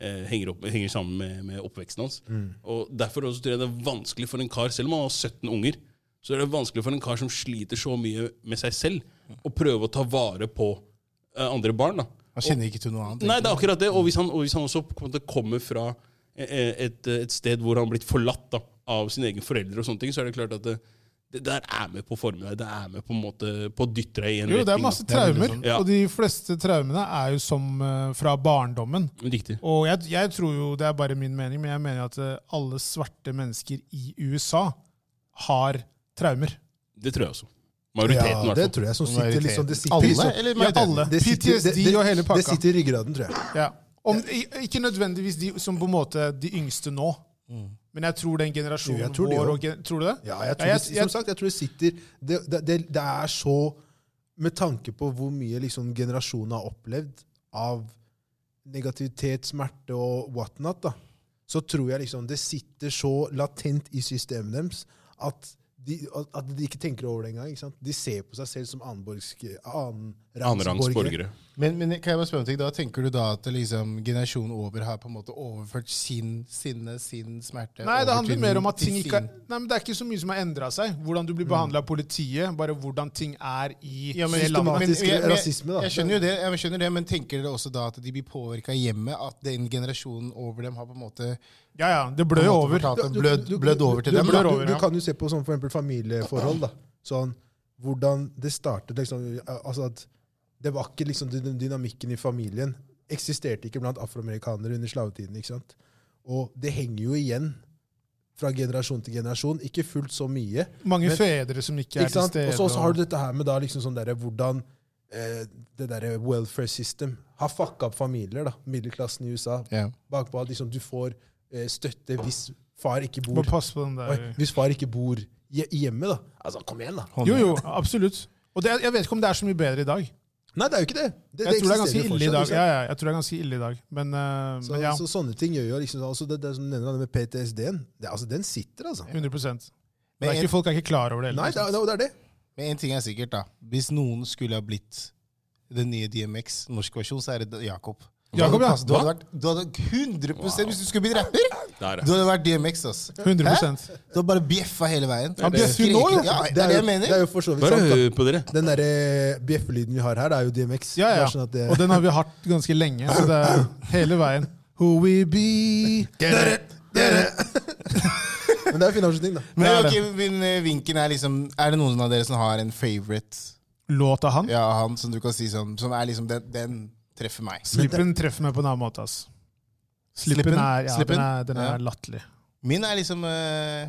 C: eh, henger, opp, henger sammen med, med oppveksten hans. Og Derfor også tror jeg det er vanskelig for en kar, selv om han har 17 unger, så er det vanskelig for en kar som sliter så mye med seg selv, å prøve å ta vare på eh, andre barn. da.
D: Han kjenner ikke til noe annet.
C: Nei, det er akkurat det. Og hvis han, og hvis han også på en måte kommer fra eh, et, et sted hvor han har blitt forlatt da, av sine egne foreldre, og sånne ting, så er det klart at det, det der er med på å forme deg. Det er med på en måte på å dytte deg i en
B: Jo, det er
C: retning,
B: masse
C: da. er veldig
B: traumer,
C: sånn. Ja.
B: og de fleste traumene er jo som eh, fra barndommen.
C: Riktig.
B: Og jeg, jeg tror jo, det er bare min mening, men jeg mener at eh, alle svarte mennesker i USA har traumer.
C: Det tror jeg også. Majoriteten, i
E: Ja,
C: hvert
E: det
C: fall.
E: tror jeg som sitter liksom det sitter,
D: Alle,
E: liksom-
D: eller
B: Ja, alle.
E: det sitter,
B: PTSD
E: det, det,
B: og hele
E: det
B: pakka.
E: sitter i ryggraden, tror jeg.
B: Ja. Om, i- ikke nødvendigvis de som på en måte de yngste nå, men jeg tror den generasjonen
E: Jo, Mm. jeg tror de
B: vår
E: også.
B: og gen, Tror du det?
E: Ja, jeg tror,
B: Ja, jeg-
E: det,
B: jeg-
E: som sagt, jeg tror det sitter det, det, det, det er så Med tanke på hvor mye liksom, generasjonen har opplevd av negativitet, smerte og whatnot, da, så tror jeg liksom det sitter så latent i systemet deres at de, at- at de ikke tenker over det engang. ikke sant? De ser på seg selv som annenborgske-
C: Annenrangs
E: annenrangsborgere.
C: borgere.
D: Men, men kan jeg bare spørre om ting? Da tenker du da at liksom, generasjonen over har på en måte overført sin sinne, sin smerte
B: Nei, det
D: over
B: handler
D: til-
B: mer om at
D: til
B: ting ikke er,
D: sin-
B: nei, men det er ikke så mye som har endra seg. Hvordan du
E: Mm.
B: blir behandla av politiet, bare hvordan ting er i
D: ja, men,
B: det landet.
E: systematisk
D: men- men-
E: rasisme, da.
D: Jeg skjønner jo det, jeg skjønner det, men tenker dere også da at de blir påvirka hjemme? At den generasjonen over dem har på en måte
B: Ja, ja, det blør jo over.
D: fortalt en blødd blødd over til
E: du,
D: dem?
E: Du,
D: da?
B: blør over,
E: du,
B: ja.
E: du kan jo se på sånn for eksempel familieforhold. da. Sånn, Hvordan det startet. liksom, altså at Det var ikke liksom den dynamikken i familien. Eksisterte ikke blant afroamerikanere under slavetiden. ikke sant? Og det henger jo igjen fra generasjon til generasjon. Ikke fullt så mye.
B: Mange
E: Men-
B: fedre som ikke er
E: Ikke sant?
B: til
E: Og
B: stede.
E: så- så har du dette her med da liksom sånn derre hvordan eh, det derre welfare system har fucka opp familier. da, Middelklassen i USA.
D: Ja.
E: Bakpå at liksom du får eh, støtte hvis far ikke
B: Må
E: bor
B: passe på den
E: Oi,
B: der.
E: hvis far ikke bor hje- hjemme, da. Altså, kom igjen, da.
B: Jo, jo, absolutt. Og det, jeg vet ikke om det er så mye bedre i dag.
E: Nei, det er jo ikke det. det,
B: Jeg tror det er ganske
E: eksisterer jo
B: ille i dag.
E: fortsatt, ikke
B: Ja,
E: sant?
B: ja, jeg tror det er ganske ille i dag. Men, eh,
E: Så,
B: men ja,
E: så sånne ting gjør jo liksom altså det, det som du nevner det med PTSD-en, det, altså, den sitter, altså.
B: 100 det
D: Men
B: er
D: en,
B: ikke, Folk er ikke klar over det
E: Nei, det,
B: heller. liksom.
E: er- det, er- det er det.
D: men en ting er sikkert, da. Hvis noen skulle ha blitt den nye DMX, norsk versjon, så er det Jakob.
B: Jakob, ja.
D: Du hadde vært du hadde 100 Hvis du skulle bli rapper,
C: Der,
D: du
C: ja.
D: hadde vært DMX, ass.
B: 100
D: Du har bare bjeffa hele veien.
B: Han bjeffer jo nå, jo.
D: Ja, det er det jeg
E: Det er
D: mener.
E: jo for så vidt
C: Bare
E: sant. da.
C: hør på dere.
E: Den derre bjeffelyden vi har her, det er jo DMX.
B: Ja,
E: Det
B: ja.
E: er sånn at det,
B: Og den har vi hatt ganske lenge, så det er hele veien. Who we be
E: men det er jo fin avslutning, da.
D: Men
B: Det er
D: ok, min eh, vinken er liksom Er det noen av dere som har en favorite
B: Låta han?
D: ja, han som du kan si sånn Som er liksom den, den treffer meg.
B: Slippen treffer meg på en annen måte. ass. Slippen
D: Slippen?
B: er, ja,
D: Slippen?
B: Den er, den er
D: Ja.
B: latterlig.
D: Min er liksom eh,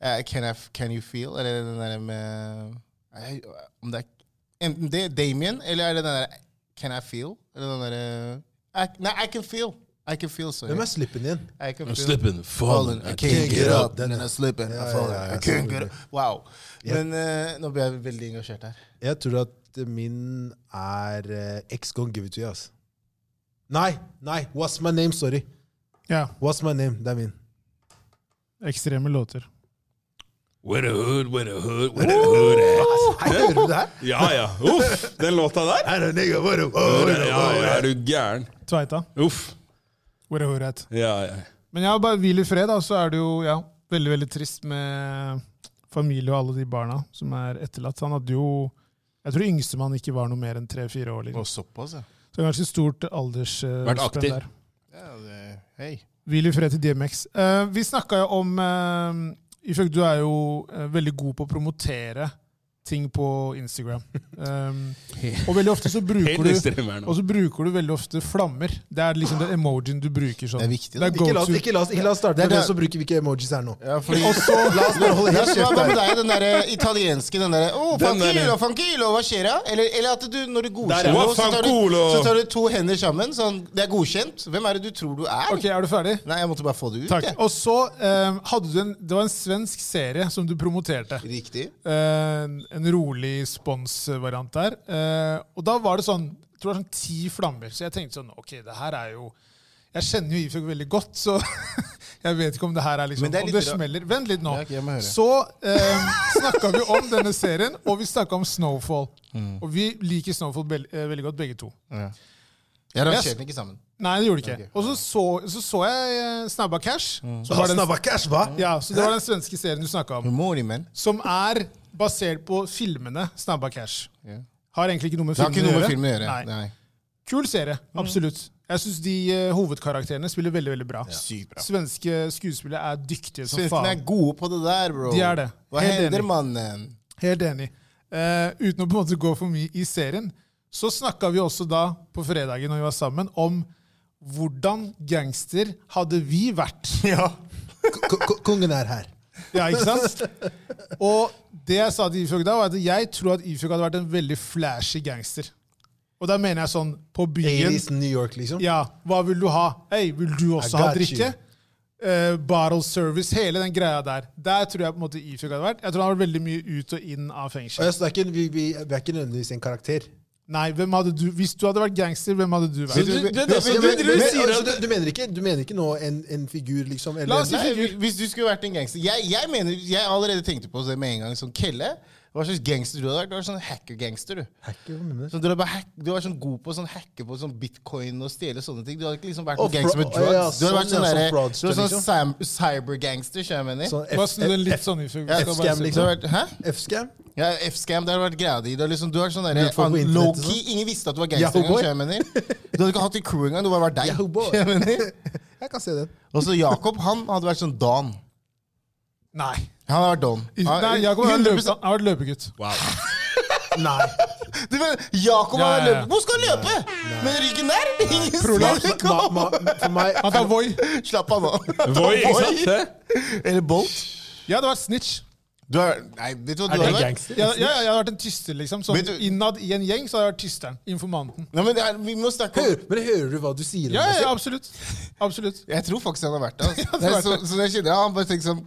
D: eh, can, I f- can you feel? Eller den der med eh, Om det er enten det er Damien, eller er det den der Can I feel? Eller den der eh, I, Nei, I can feel. I can feel, sorry.
E: Hvem er slippen igjen?
D: I can feel.
C: Slippen, fallen,
D: Fallen, I can't get up, then I slip and I fall,
E: ja,
D: I
E: ja,
D: can't get
E: selvfølgelig.
D: up. Wow. Men eh, nå ble jeg veldig engasjert her.
E: Jeg tror at min er eh, X Gone Give It To You. ass. Nei, nei! What's My Name? Sorry.
B: Ja,
E: What's My Name? Det er min.
B: Ekstreme låter.
C: Where a hood, where a hood, where a hood at?
E: Hører du det her?
C: Ja, ja. Uff, den låta der.
E: Er det nigga, what up?
C: Ja,
E: Oh,
C: ja, er du gæren?
B: Tveita.
C: Uff.
B: Hvor er hvor at?
C: Ja, ja.
B: Men ja, bare hvil i fred, da, så er det jo ja, veldig veldig trist med familie og alle de barna som er etterlatt. Han hadde jo Jeg tror yngstemann ikke var noe mer enn tre-fire år. Liksom.
D: Og såpass, ja.
B: Så det er ganske stort aldersspenn
C: Vært aktiv.
B: der.
D: ja det, hei.
B: Hvil i fred til DMX. Eh, vi snakka jo om eh, Ifølge du er jo eh, veldig god på å promotere ting på Instagram. Um, og veldig ofte så bruker
C: Helt
B: du
C: ekstrem her
B: og
C: nå.
B: så bruker du veldig ofte flammer. Det er liksom den emojien du bruker sånn.
D: Det er viktig, da.
B: Det er
E: Ikke la,
B: go
E: oss,
B: to.
E: ikke, la oss, ikke la oss starte
D: Det er
E: med hvem
D: det-
E: som bruker hvilke emojis her nå.
D: Ja, fordi
E: Og så, la oss bare holde
D: Ja,
E: helt
D: så Hva
E: kjeft
D: med
E: her.
D: deg, den der eh, italienske den derre oh,
C: Den
D: Fankilo,
C: derre-
D: fankilo, hva skjer da? Eller, eller at du, når du
C: Der
D: godkjenner
C: er det.
D: noe, så tar, du,
C: Fankilo.
D: så tar du to hender sammen, sånn Det er godkjent. Hvem er det du tror du er?
B: Ok, Er du ferdig?
D: Nei, jeg måtte bare få det ut.
B: Takk.
D: jeg.
B: Og så eh, hadde du en Det var en svensk serie som du promoterte.
D: Riktig.
B: Eh, en rolig sponsvariant der. Eh, og da var det sånn jeg tror det var sånn ti flammer. Så jeg tenkte sånn Ok, det her er jo Jeg kjenner jo Ifjok veldig godt, så jeg vet ikke om det her er liksom
D: Men det er
B: Om
D: litt
B: det
D: ra-
B: smeller Vent litt nå.
D: Ja, ok, jeg må høre.
B: Så eh, snakka vi om denne serien, og vi snakka om Snowfall.
D: Mm.
B: Og vi liker Snowfall bel- eh, veldig godt, begge to.
D: Jeg rangerte den ikke sammen.
B: Nei, det gjorde det ikke. Og så så, så, så jeg eh, Snabba Cash.
D: Mm.
B: Som
E: Ah,
B: var den,
E: Snabba cash, hva?
B: ja, så det var den svenske serien du snakka om.
D: Mori, men.
B: Som er basert på filmene Snabba Cash.
D: Ja.
B: Har egentlig ikke noe med
D: Det har ikke
B: filmen å
D: noe
B: gjøre.
D: med filmen å gjøre.
B: Nei.
D: Nei. Mm.
B: Kul serie, absolutt. Jeg syns de eh, hovedkarakterene spiller veldig veldig bra.
D: Sykt bra.
B: Svenske skuespillere er dyktige som
D: Svenskene er
B: faen.
D: gode på det der, bro.
B: De er det.
D: Hva
B: Helt
D: hender,
B: enig.
D: mannen?
B: Helt enig. Eh, uten å på en måte gå for mye i serien, så snakka vi også da på fredagen når vi var sammen, om hvordan gangster hadde vi vært? Ja,
E: Ko- ko- Kongen er her.
B: ikke sant? Og det jeg sa til Ifjok da, var at jeg tror at Ifjok hadde vært en veldig flashy gangster. Og da mener jeg sånn på byen.
E: Alice New York, liksom.
B: Ja, hva vil du ha? Hei, vil du også ha
E: got
B: drikke?
E: you.
B: Eh, bottle service, hele den greia der. Der tror jeg på en måte Ifjok hadde vært. Jeg tror han har vært veldig mye ut og inn av
E: Og
B: fengsel.
E: jeg- så det er ikke, vi, vi, vi er ikke nødvendigvis en karakter.
B: Nei, hvem hadde du, Hvis du hadde vært gangster, hvem hadde du
C: Du,
B: vært?
C: du, du, du,
E: Ja, men-
C: du,
E: men-
C: sier
E: altså,
C: at
E: du, du mener ikke, du mener ikke nå en, en figur, liksom? Eller,
B: La oss si
D: Nei,
B: figur.
D: hvis du skulle vært en gangster Jeg, jeg mener, jeg allerede tenkte på det med en gang. Sånn Kelle, hva slags gangster du hadde vært? Du var sånn hacker-gangster, du.
E: Hacker, hva mener du?
D: Så du, var hack, du var sånn god på å sånn hacke på sånn bitcoin og stjele sånne ting. Du hadde ikke liksom vært
E: Og
D: noen gangster med
E: fra-
D: drugs. du
E: ja,
D: hadde
E: sånn,
D: vært sånn,
E: ja, sånn
D: derre-
E: fraudster,
D: du var sånn
E: liksom.
D: sam- cybergangster, skjønner jeg mener.
E: Sånn F-
B: Bare snu den litt
E: F-
B: sånn, Ifjok.
D: Ja,
B: Jeg skal bare
E: F-scam,
B: se.
D: Du
E: liksom.
D: hadde vært, hæ?
E: F-scam?
D: Ja, F-scam, det hadde vært greia di. Du, er liksom, du er sånn derre
E: Lurt folk på
D: an-
E: internett og
D: low-key. Ingen visste at du var
E: Yahoo
D: gangster engang,
E: boy.
D: skjønner jeg mener. Du hadde ikke hatt en crew engang. Du hadde vært deg.
E: Yahoo boy.
D: skjønner jeg mener.
E: Jeg kan se den.
D: Og så Jakob, han hadde vært sånn Don.
B: Nei.
D: Han hadde vært Don.
B: Nei,
E: Ah,
D: Han-
B: Jakob har vært
D: 100%
B: løpe- han har vært løpegutt.
E: Nei.
D: Du mener, Jakob
B: Ja, ja,
D: har
B: ja.
D: løpet. Hvor skal han løpe? Men ryggen der? Ingen ser ikke
E: Ma,
D: opp.
E: ma, for meg
B: Han tar Voi.
D: Slapp av nå.
C: Voi, ikke sant? Hæ?
D: Eller Bolt.
B: Jeg hadde vært snitch.
D: Du er, nei, vet du hva du
E: det
D: har vært?
E: gangster?
B: Jeg, jeg, jeg hadde vært en tyster, liksom. Sånn
D: Vet du-
B: innad i en gjeng så hadde jeg vært tysteren. Informanten.
D: Nei, men det er, vi må snakke om
E: Hører, men hører du hva du sier? om
B: Ja,
E: deg
B: ja,
E: selv?
B: absolutt. Absolutt.
D: Jeg tror faktisk han har vært det. Altså.
B: det har
D: så, så jeg kjenner han bare tenker sånn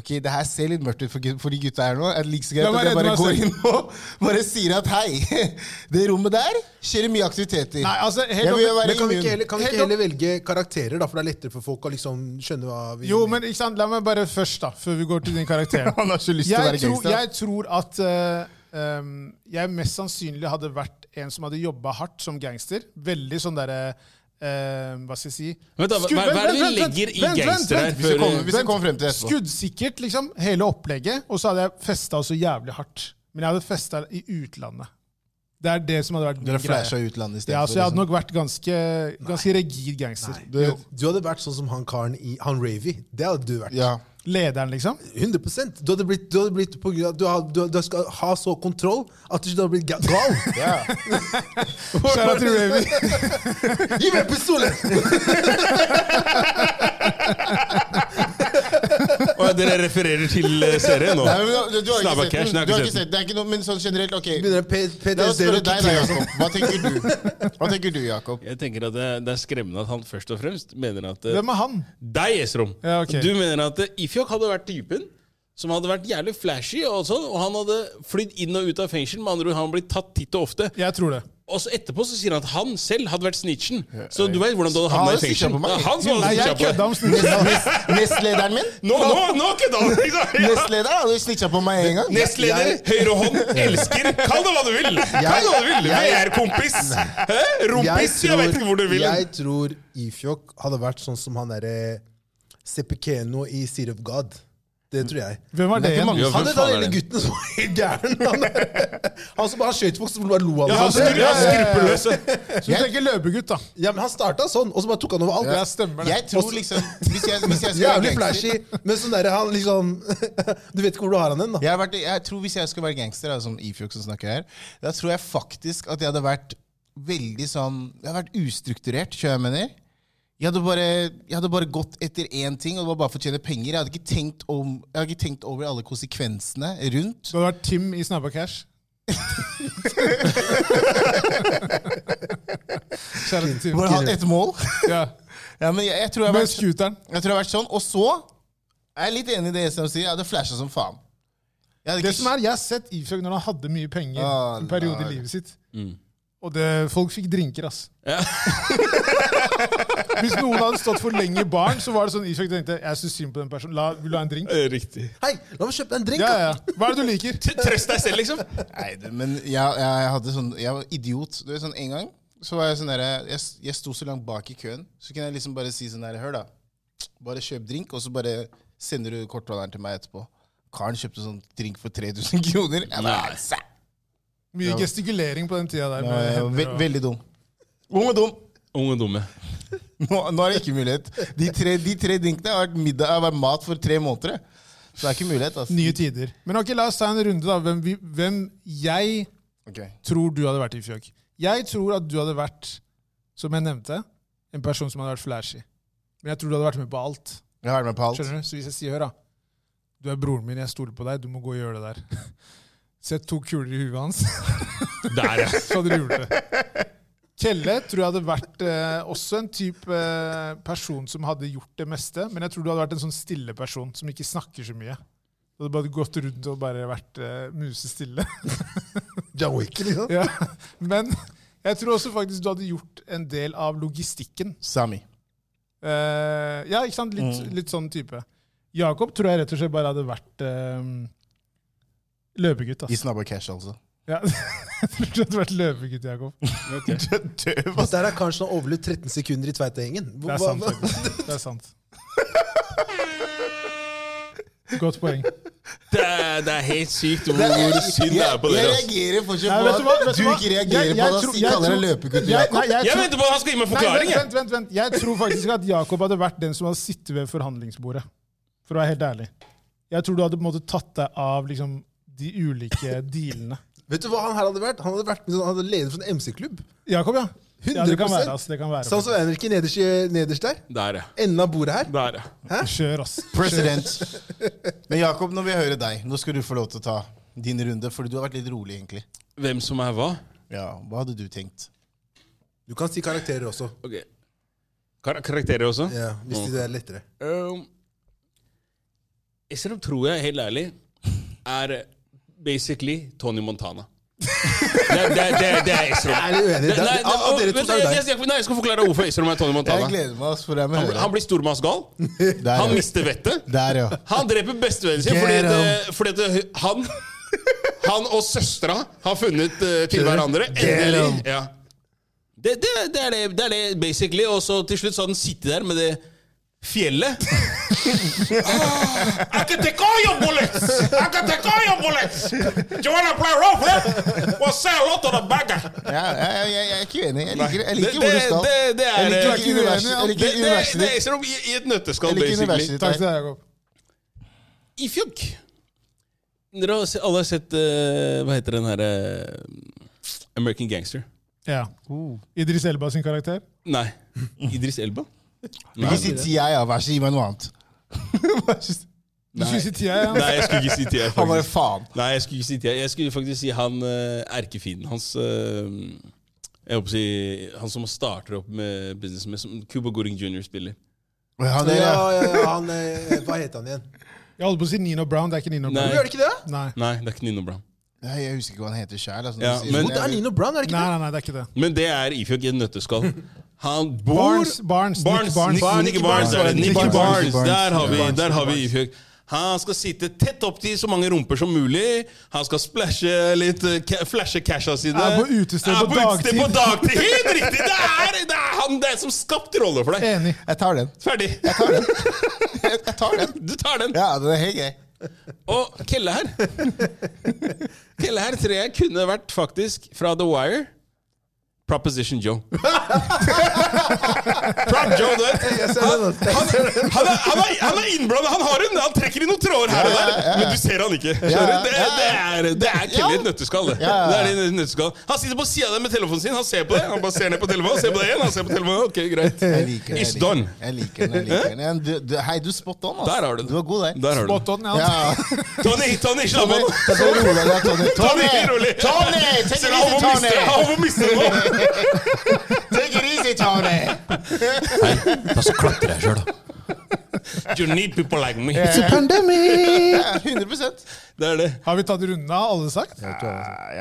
D: Ok, det her ser litt mørkt ut for, gut- for de gutta her nå. Er det like så greit
B: La meg
D: at jeg
B: redde
D: bare
B: meg
D: går
B: selv.
D: inn og bare sier at hei, det rommet der skjer det mye aktiviteter.
B: Nei, altså, helt
D: jeg vil
B: opp-
D: være
E: Men kan vi ikke
D: immun.
E: heller, kan vi ikke
B: Helt
E: heller velge karakterer, da, for det er lettere for folk å liksom skjønne hva vi
B: Jo, men ikke sant? la meg bare først, da, før vi går til din karakter.
D: Han har ikke lyst til å
B: jeg,
D: være
B: tror,
D: gangster.
B: jeg tror at eh, um, jeg mest sannsynlig hadde vært en som hadde jobba hardt som gangster. Veldig sånn derre eh, Hva skal jeg si?
C: Vent da, hva-
B: Skudd-
C: hva er det
B: vent,
C: vi
B: vent, vent,
C: legger i
B: vent, vent,
C: gangster her
B: vent.
C: før-
D: Kommer- Hvis jeg kommer frem til det etterpå.
B: Skuddsikkert, liksom. Hele opplegget. Og så hadde jeg festa så jævlig hardt. Men jeg hadde festa i utlandet. Det er det som hadde vært
D: Dere
B: min
D: flasha
B: greie.
D: utlandet i stedet.
B: Ja,
D: for,
B: så jeg hadde
D: liksom.
B: nok vært ganske, ganske rigid gangster.
E: Du, du hadde vært sånn som han karen i Han Ravy. Det hadde du vært.
D: ja.
B: Lederen, liksom?
E: 100 Du hadde blitt, du hadde blitt på grunn av, du, har, du, du skal ha så kontroll at du ikke hadde blitt ga- gal.
B: Shout out to Ravi.
E: Gi meg pistolen!
C: Og dere refererer til eh, serien nå?
D: Nei, men du, du har
C: Snabba
D: ikke
C: Cash,
D: sett den.
C: nei, jeg har
D: Du har
C: ikke
D: ikke
C: sett
D: sett den. Det er ikke noe, men sånn generelt, ok.
E: Begynner en P-
D: La oss
E: PTSD
D: spørre
E: å
D: deg, da,
E: kicke inn.
D: Jakob. Hva tenker du? Hva tenker du, Jakob?
C: Jeg tenker at det, det er skremmende at han først og fremst mener at eh,
B: Hvem er han?
C: Deg, Esrom.
B: Ja, ok.
C: Du mener at eh, Ifjok hadde vært typen som hadde vært jævlig flashy, og, sånn, og han hadde flydd inn og ut av fengsel. Med andre ord, han blitt tatt titt og ofte.
B: Jeg tror det.
C: Og så etterpå så sier han at han selv hadde vært snitchen. Så du vet hvordan du hadde
D: Han
C: havna i
D: hadde snitcha
C: fengsel.
D: på meg.
C: Ja, Han som
B: Nei,
C: hadde
B: jeg
C: snitcha på
B: kødda
C: deg.
B: om snitchen.
D: Nest- Nestlederen min?
C: Nå, nå, nå kødda han! liksom. Ja.
D: Nestleder hadde snitcha på meg en gang.
C: Nestleder, høyre hånd, elsker. Kall det hva du vil! Kall det hva du vil! VR-kompis! Hæ? Rumpis! Jeg, vet ikke hvor du vil.
E: jeg tror Ifjok hadde vært sånn som han derre Sepikeno i Seed of God. Det tror jeg.
B: Hvem var det igjen?
C: Ja, hvem
E: Han er den
C: faen er
E: ene
C: det?
E: gutten som var helt gæren. Han, er- han som bare skjøt folk, som bare lo av
C: Ja, han
E: det.
C: skrur- han skrupelløse.
B: Så du tenker løpegutt, da.
E: Ja, men han starta sånn, og så bare tok han over alt.
B: Ja, stemmer det.
D: Jeg tror liksom Hvis jeg, hvis jeg skal være
E: Jævlig
D: gangster
E: flashy, men sånn derre han liksom Du vet ikke hvor du har han hen, da.
D: jeg, har vært, jeg tror hvis jeg skulle være gangster, da, som Ifjok som snakker her, da tror jeg faktisk at jeg hadde vært veldig sånn Jeg hadde vært ustrukturert, skjønner jeg mener. Jeg hadde, bare, jeg hadde bare gått etter én ting, og det var bare for å tjene penger. Jeg hadde ikke tenkt, om, jeg hadde ikke tenkt over alle konsekvensene rundt.
B: Du hadde vært Tim i Snabba Cash. Kjære til Tim.
D: Bare hatt ett mål.
B: Ja.
D: ja, men jeg, jeg, tror jeg, har
B: Med
D: vært,
B: scooteren.
D: jeg tror jeg har vært sånn. Og så er jeg litt enig i det som sier. Jeg hadde flasha som faen. Jeg hadde
B: Det
D: ikke-
B: som er, Jeg har sett Ifjok når han hadde mye penger
D: Ah,
B: en periode
D: nei.
B: i livet sitt. Og det, folk fikk drinker, ass. Hvis noen hadde stått for lenge i baren, så var det sånn Ifjok tenkte jeg syns synd på den personen. La, vil du ha en drink?
C: Riktig.
E: Hei, la meg kjøpe deg en drink!
B: Ja,
E: da.
B: ja. Hva er det du liker?
C: Trøst deg selv, liksom.
D: Nei, det- men jeg, jeg, hadde sånn, jeg var idiot. Du vet, sånn En gang så var jeg sånn der, jeg, jeg sto så langt bak i køen, så kunne jeg liksom bare si sånn her, hør da, bare kjøp drink, og så bare sender du kortholderen til meg etterpå. Karen kjøpte sånn drink for 3000 kroner. Jeg bare, sæ.
B: Mye gestikulering på den tida der.
D: Nå er
B: Med
D: jeg ve
B: hender og...
D: veldig dum. Ung og dum.
C: Unge dumme.
D: Nå, nå er det ikke mulighet. De tre, de tre drinkene har vært, middag, har vært mat for tre måneder. jeg. Så det er ikke mulighet. altså.
B: Nye tider. Men ok, la oss ta en runde, da. Hvem, vi, hvem jeg
D: Ok.
B: tror du hadde vært i Fjøk? Jeg tror at du hadde vært, som jeg nevnte, en person som hadde vært flashy. Men jeg tror du hadde vært med på alt.
D: Jeg har det med på alt.
B: Skjønner du? Så hvis jeg sier, hør da, du er broren min, jeg stoler på deg, du må gå og gjøre det der. Sett to kuler i huet hans,
C: Der, ja.
B: så hadde du gjort det. Kelle tror jeg hadde vært eh, også en type eh, person som hadde gjort det meste, men jeg tror du hadde vært en sånn stille person som ikke snakker så mye. Du hadde bare gått rundt og bare vært eh, musestille.
E: John Wick, liksom.
B: ja. Men jeg tror også faktisk du hadde gjort en del av logistikken.
D: Sami.
B: Eh, ja, ikke sant? Litt,
D: Mm.
B: litt sånn type. Jakob tror jeg rett og slett bare hadde vært eh, løpegutt.
D: I
B: ass.
D: Snabba Cash, altså.
B: Ja. jeg tror du hadde vært løpegutt, Jakob.
D: Døv,
E: Og der er kanskje han overlevd 13 sekunder i Tveiteheggen. Hva-
B: Det er sant.
E: hva-
B: faktisk. Det er sant. Godt poeng.
C: Det er, det er helt sykt hvor synd det er på
D: Jeg
C: dere. altså. ass.
D: reagerer fortsatt
B: Nei,
D: på
B: vet du hva?
D: at
B: Vet
D: du
B: hva?
D: ikke reagerer på at
B: tror-
D: han kaller deg
B: tror-
D: løpegutt.
B: Jeg-
D: Jakob.
B: nei, jeg
C: Jeg
B: tror-
C: venter på at han skal gi
B: Nei,
C: meg
B: vent,
C: forklaring. jeg.
B: vent, vent, vent. Jeg tror faktisk at Jakob hadde vært den som hadde sittet ved forhandlingsbordet. For å være helt ærlig. Jeg tror du hadde på en måte tatt deg av liksom, de ulike dealene.
E: Vet du hva han her hadde vært? Han hadde vært med sånn- han hadde leder for en MC-klubb.
B: Jakob, ja. Ja, det kan
E: 100%.
B: være. ass, det kan være.
E: Sånn som Henrik nederst, i- nederst der.
C: Der, ja.
E: Enden av bordet her.
C: Der, ja.
B: Kjør, ass.
D: President. Men Jakob, nå vil jeg høre deg. Nå skal du få lov til å ta din runde, for du har vært litt rolig, egentlig.
C: Hvem som er hva?
D: Ja, Hva hadde du tenkt?
E: Du kan si karakterer også,
C: Ok. Kar karakterer også?
E: ja, hvis det er lettere.
C: Um, Esrom tror jeg, helt ærlig, er eh, basically Tony Montana. Det er- det er- det er- det er Esrom.
E: Er du uenig?
C: Det-
E: Det-
C: Nei,
E: av- av dere
C: det-
E: to
C: vent,
E: så er det
C: jeg- jeg- jeg- nei, jeg skal forklare hvorfor Esrom er Tony
D: Jeg
C: Montana.
D: gleder meg ass, for deg med å
C: Han,
D: høre.
C: han blir stormannsgal.
D: Der,
C: Han
D: ja.
C: mister vettet.
D: Der, ja.
C: Han dreper bestevennen sin
D: Get
C: fordi, at, eh, fordi at eh, han Han og søstera har funnet eh, til hverandre. Endelig. Ja. Det, det, det, er det, det er det, basically. Og så til slutt så har den sittet der med det fjellet. Ah, I can take all your bullets! I can take all your bullets! Do you wanna play role play? Well, say hello to the bad guy.
D: ja jeg, jeg, jeg er ikke uenig. Jeg liker, jeg
C: Det,
D: liker
C: det,
D: hvor du skal.
C: det, det er
D: Jeg
C: eh,
D: liker
C: det,
D: universet. Jeg
C: det,
D: liker
C: det,
D: universet
C: det
D: ditt.
C: er som i, i et
D: Jeg
C: nøtteskall,
D: liker
C: basically.
D: universet ditt
B: Takk
D: der.
B: til deg, Jakob.
C: Ifjok. Dere har, se- alle har sett eh, Hva heter den herre American Gangster?
B: Ja. Idris Elba sin karakter.
C: Nei. Idris Elba?
D: Ikke si ti jeg, ja. Vær så snill, gi meg noe annet.
B: Du skulle si tida, ja.
C: Nei, jeg skulle ikke si T.I.
D: Han bare
C: faktisk.
D: faen.
C: Nei, jeg skulle ikke si T.I. Jeg skulle faktisk si han eh, erkefienden hans eh, Jeg håper å si Han som starter opp med businessen, med- som Cuba Gooding Jr. spiller.
D: Han der,
E: Ja,
D: ja.
E: ja, ja, han, eh, hva het han igjen?
B: Jeg holdt på å si Nino Brown. Det er ikke Nino
C: Nei.
B: Brown.
E: Gjør det ikke det?
B: Nei.
C: Nei, det er ikke Nino Brown.
D: Nei, jeg husker ikke hva han heter sjæl. Altså,
C: Ja,
D: Når du sier
C: men-
E: Det er Nino Brown, er
B: Nei,
E: det ikke det?
B: nei, nei, det er ikke det.
C: Men det er Ifjok i et nøtteskall. Han bor
B: Barnes, Barnes, Nick Barnes.
C: Nick, Nick, Barnes, er det. Nick Barnes. Der har vi, der har vi Ifjok. Han skal sitte tett opp til så mange rumper som mulig. Han skal splashe litt, eh, ca- flashe casha sine.
B: Er på utested
C: Er
B: på dagtid.
C: utested på dagtid. Helt riktig! Det er, det er han det er som skapte roller for deg.
B: Enig.
D: Jeg tar den.
C: Ferdig.
D: Jeg tar den.
C: Du tar den.
D: Ja, den er helt grei.
C: Og Kelle her Kelle her tror jeg kunne vært faktisk fra The Wire. Proposition Joe. Prop Joe der. Han, han, han, er, han, er, han er innblandet. Han har en, han trekker i noen tråder her og der, men du ser han ikke. Skjønner du? Det, det er, det er Kelle i et nøtteskall. Det.
D: Ja, ja,
C: Det
D: ja.
C: er det i et nøtteskall. Han sitter på sida der med telefonen sin. Han ser på det. Han bare ser ned på telefonen, ser på det igjen. Han ser på telefonen. Ok, greit.
D: Jeg liker den.
C: It's
D: jeg liker
C: done.
D: den, Jeg liker den. jeg liker den. Ja, Du, du, hei, du er spot on, ass.
C: Der har du det.
D: Du var god der.
C: Der har du det.
B: Spot on, ja.
D: Ja.
C: Tony, Tony, slapp
D: Tommy,
C: av.
D: ta så rolig deg, Tony.
C: Tony,
D: Tony!
C: rolig.
D: Tony! Take
C: Se,
D: it
C: han
D: easy,
C: må miste det.
D: Tony!
C: Han må miste det nå.
D: Take it easy, Tony!
F: Da så klatrer jeg sjøl, da.
C: You need people like me.
D: Ja, 100
C: Det er det.
B: Har vi tatt runden av alle sagt?
D: Ja,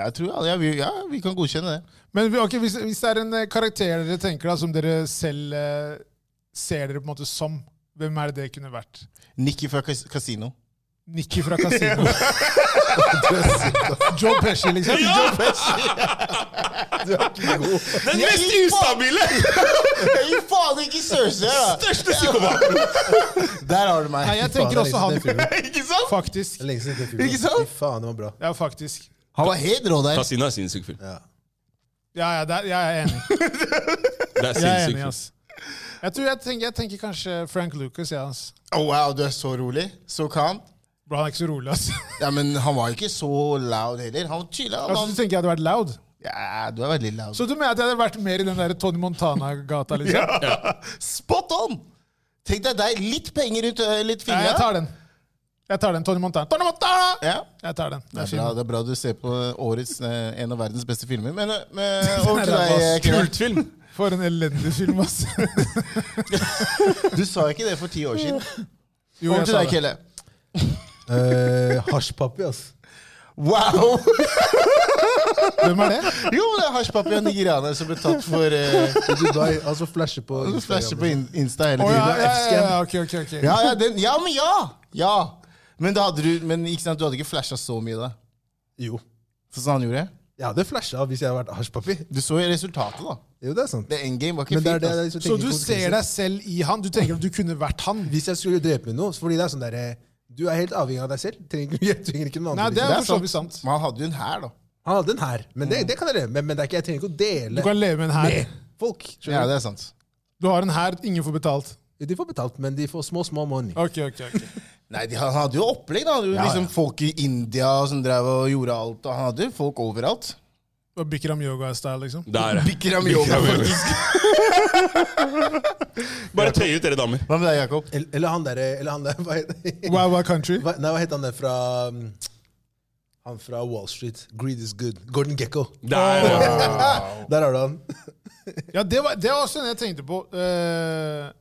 D: Jeg tror alle, ja, vi, ja, vi kan godkjenne det.
B: Men vi- ok, hvis, hvis det er en eh, karakter dere tenker da, som dere selv eh, ser dere på en måte som, hvem er det det kunne vært?
D: Nikki fra kas Casino.
B: Nikki fra Casino. Joe Pesci, liksom. Joe Pesci.
C: Den mest ustabile,
D: Jeg gir faen ikke Cersei her, da!
C: største psykopaten!
D: Der har du meg.
B: Nei, jeg tenker også han.
C: Ikke sant?
B: Faktisk.
E: Lenge siden jeg har sett den filmen.
D: Ikke sant?
E: Fy faen, det var bra.
B: Ja, faktisk.
D: Han var helt rå der.
C: Casino er sinnssyk film.
B: Ja, ja, der, jeg er enig.
C: Det er
B: Jeg er
C: sinnssyk
B: enig, altså.
C: film.
B: ass. Jeg, tror jeg, tenker, jeg tenker kanskje Frank Lucas, ja, ass.
D: Oh, wow, du er så rolig. Så calm.
B: Bro, han er ikke så rolig, ass.
D: Ja, men han var ikke så loud heller. Han var chilla. han-
B: Altså, du tenker jeg hadde vært loud?
D: Ja, du er veldig loud.
B: Så du mener at jeg hadde vært mer i den der Tony Montana-gata, liksom?
D: Spot on! Tenk deg deg. Litt penger rundt ø, litt Sånn
B: Ja,
D: fingra.
B: jeg tar den. Jeg tar den. Tony Montana. Tony Montana!
D: Ja.
B: Jeg tar den. Det er
D: Det er, bra,
B: fint.
D: det er bra du ser på årets, eh, en av verdens beste filmer. Men, eh, men over
B: Det er
D: til deg, eh,
B: bare
D: Kenneth.
C: Kultfilm.
B: For en elendig film, ass.
D: Du sa ikke det for ti år siden.
B: Jo,
D: Over
B: jeg
D: til
B: sa
D: deg,
B: det.
D: Kelle.
E: Eh, Hasjpappi, ass.
D: Wow!
B: Hvem er det?
D: Jo, men det er hasjpappi og nigerianer som ble tatt for eh,
E: I Dubai, altså flashe på
D: Du flasher på
E: Instagram. liksom.
D: in- Insta hele
B: liksom. Å ja,
D: tiden.
B: ja, ja, ja, ok, ok, ok.
D: Ja, ja, den, ja, men ja! Ja. Men, da hadde du, men ikke sant, du hadde ikke flasha så mye da?
E: Jo.
D: Sånn som han gjorde?
E: Jeg hadde flasha hvis jeg hadde vært hasjpappi.
D: Du så jo resultatet, da.
E: Jo, det er sant.
D: Det endgame var ikke
E: Men det er
D: fint.
E: det jeg
D: altså.
E: liksom
B: Så
E: tenker
B: du
E: konsekvenser.
B: ser deg selv i han? Du tenker at du kunne vært han?
E: Hvis jeg skulle drepe noen Fordi det er sånn der eh, Du er helt avhengig av deg selv. Trenger, ikke- jeg trenger ikke noen
B: Nei,
E: andre.
B: det
E: til
B: er
E: deg.
B: for så vidt sant.
D: Men han hadde jo en hær, da.
E: Han hadde den her, men det, det kan jeg leve med. Men det er ikke, jeg trenger ikke å
B: Du
E: dele
B: kan leve med en hær.
E: med folk. skjønner
D: Ja, det er sant.
B: Du har en hær ingen får betalt.
E: du? De får betalt, men de får små, små money.
B: Ok, ok, ok.
D: Nei, de, Han hadde jo opplegg. da. Han hadde jo liksom Folk i India som drev og gjorde alt. og Han hadde jo folk overalt.
B: Det var Bikram yoga-style, liksom.
C: Der.
D: Bikram yoga, faktisk.
C: Bare tøy ut dere damer.
D: Hva med deg, Jakob?
E: Eller, eller han derre Eller han der Hva heter
B: Wow, wow country.
E: hva, Nei, hva heter han der fra um, Han fra Wall Street. Greed is good. Gordon Gekko.
C: Der. ja.
E: Der har du han.
B: Ja, det var, det var også en jeg tenkte på. Eh,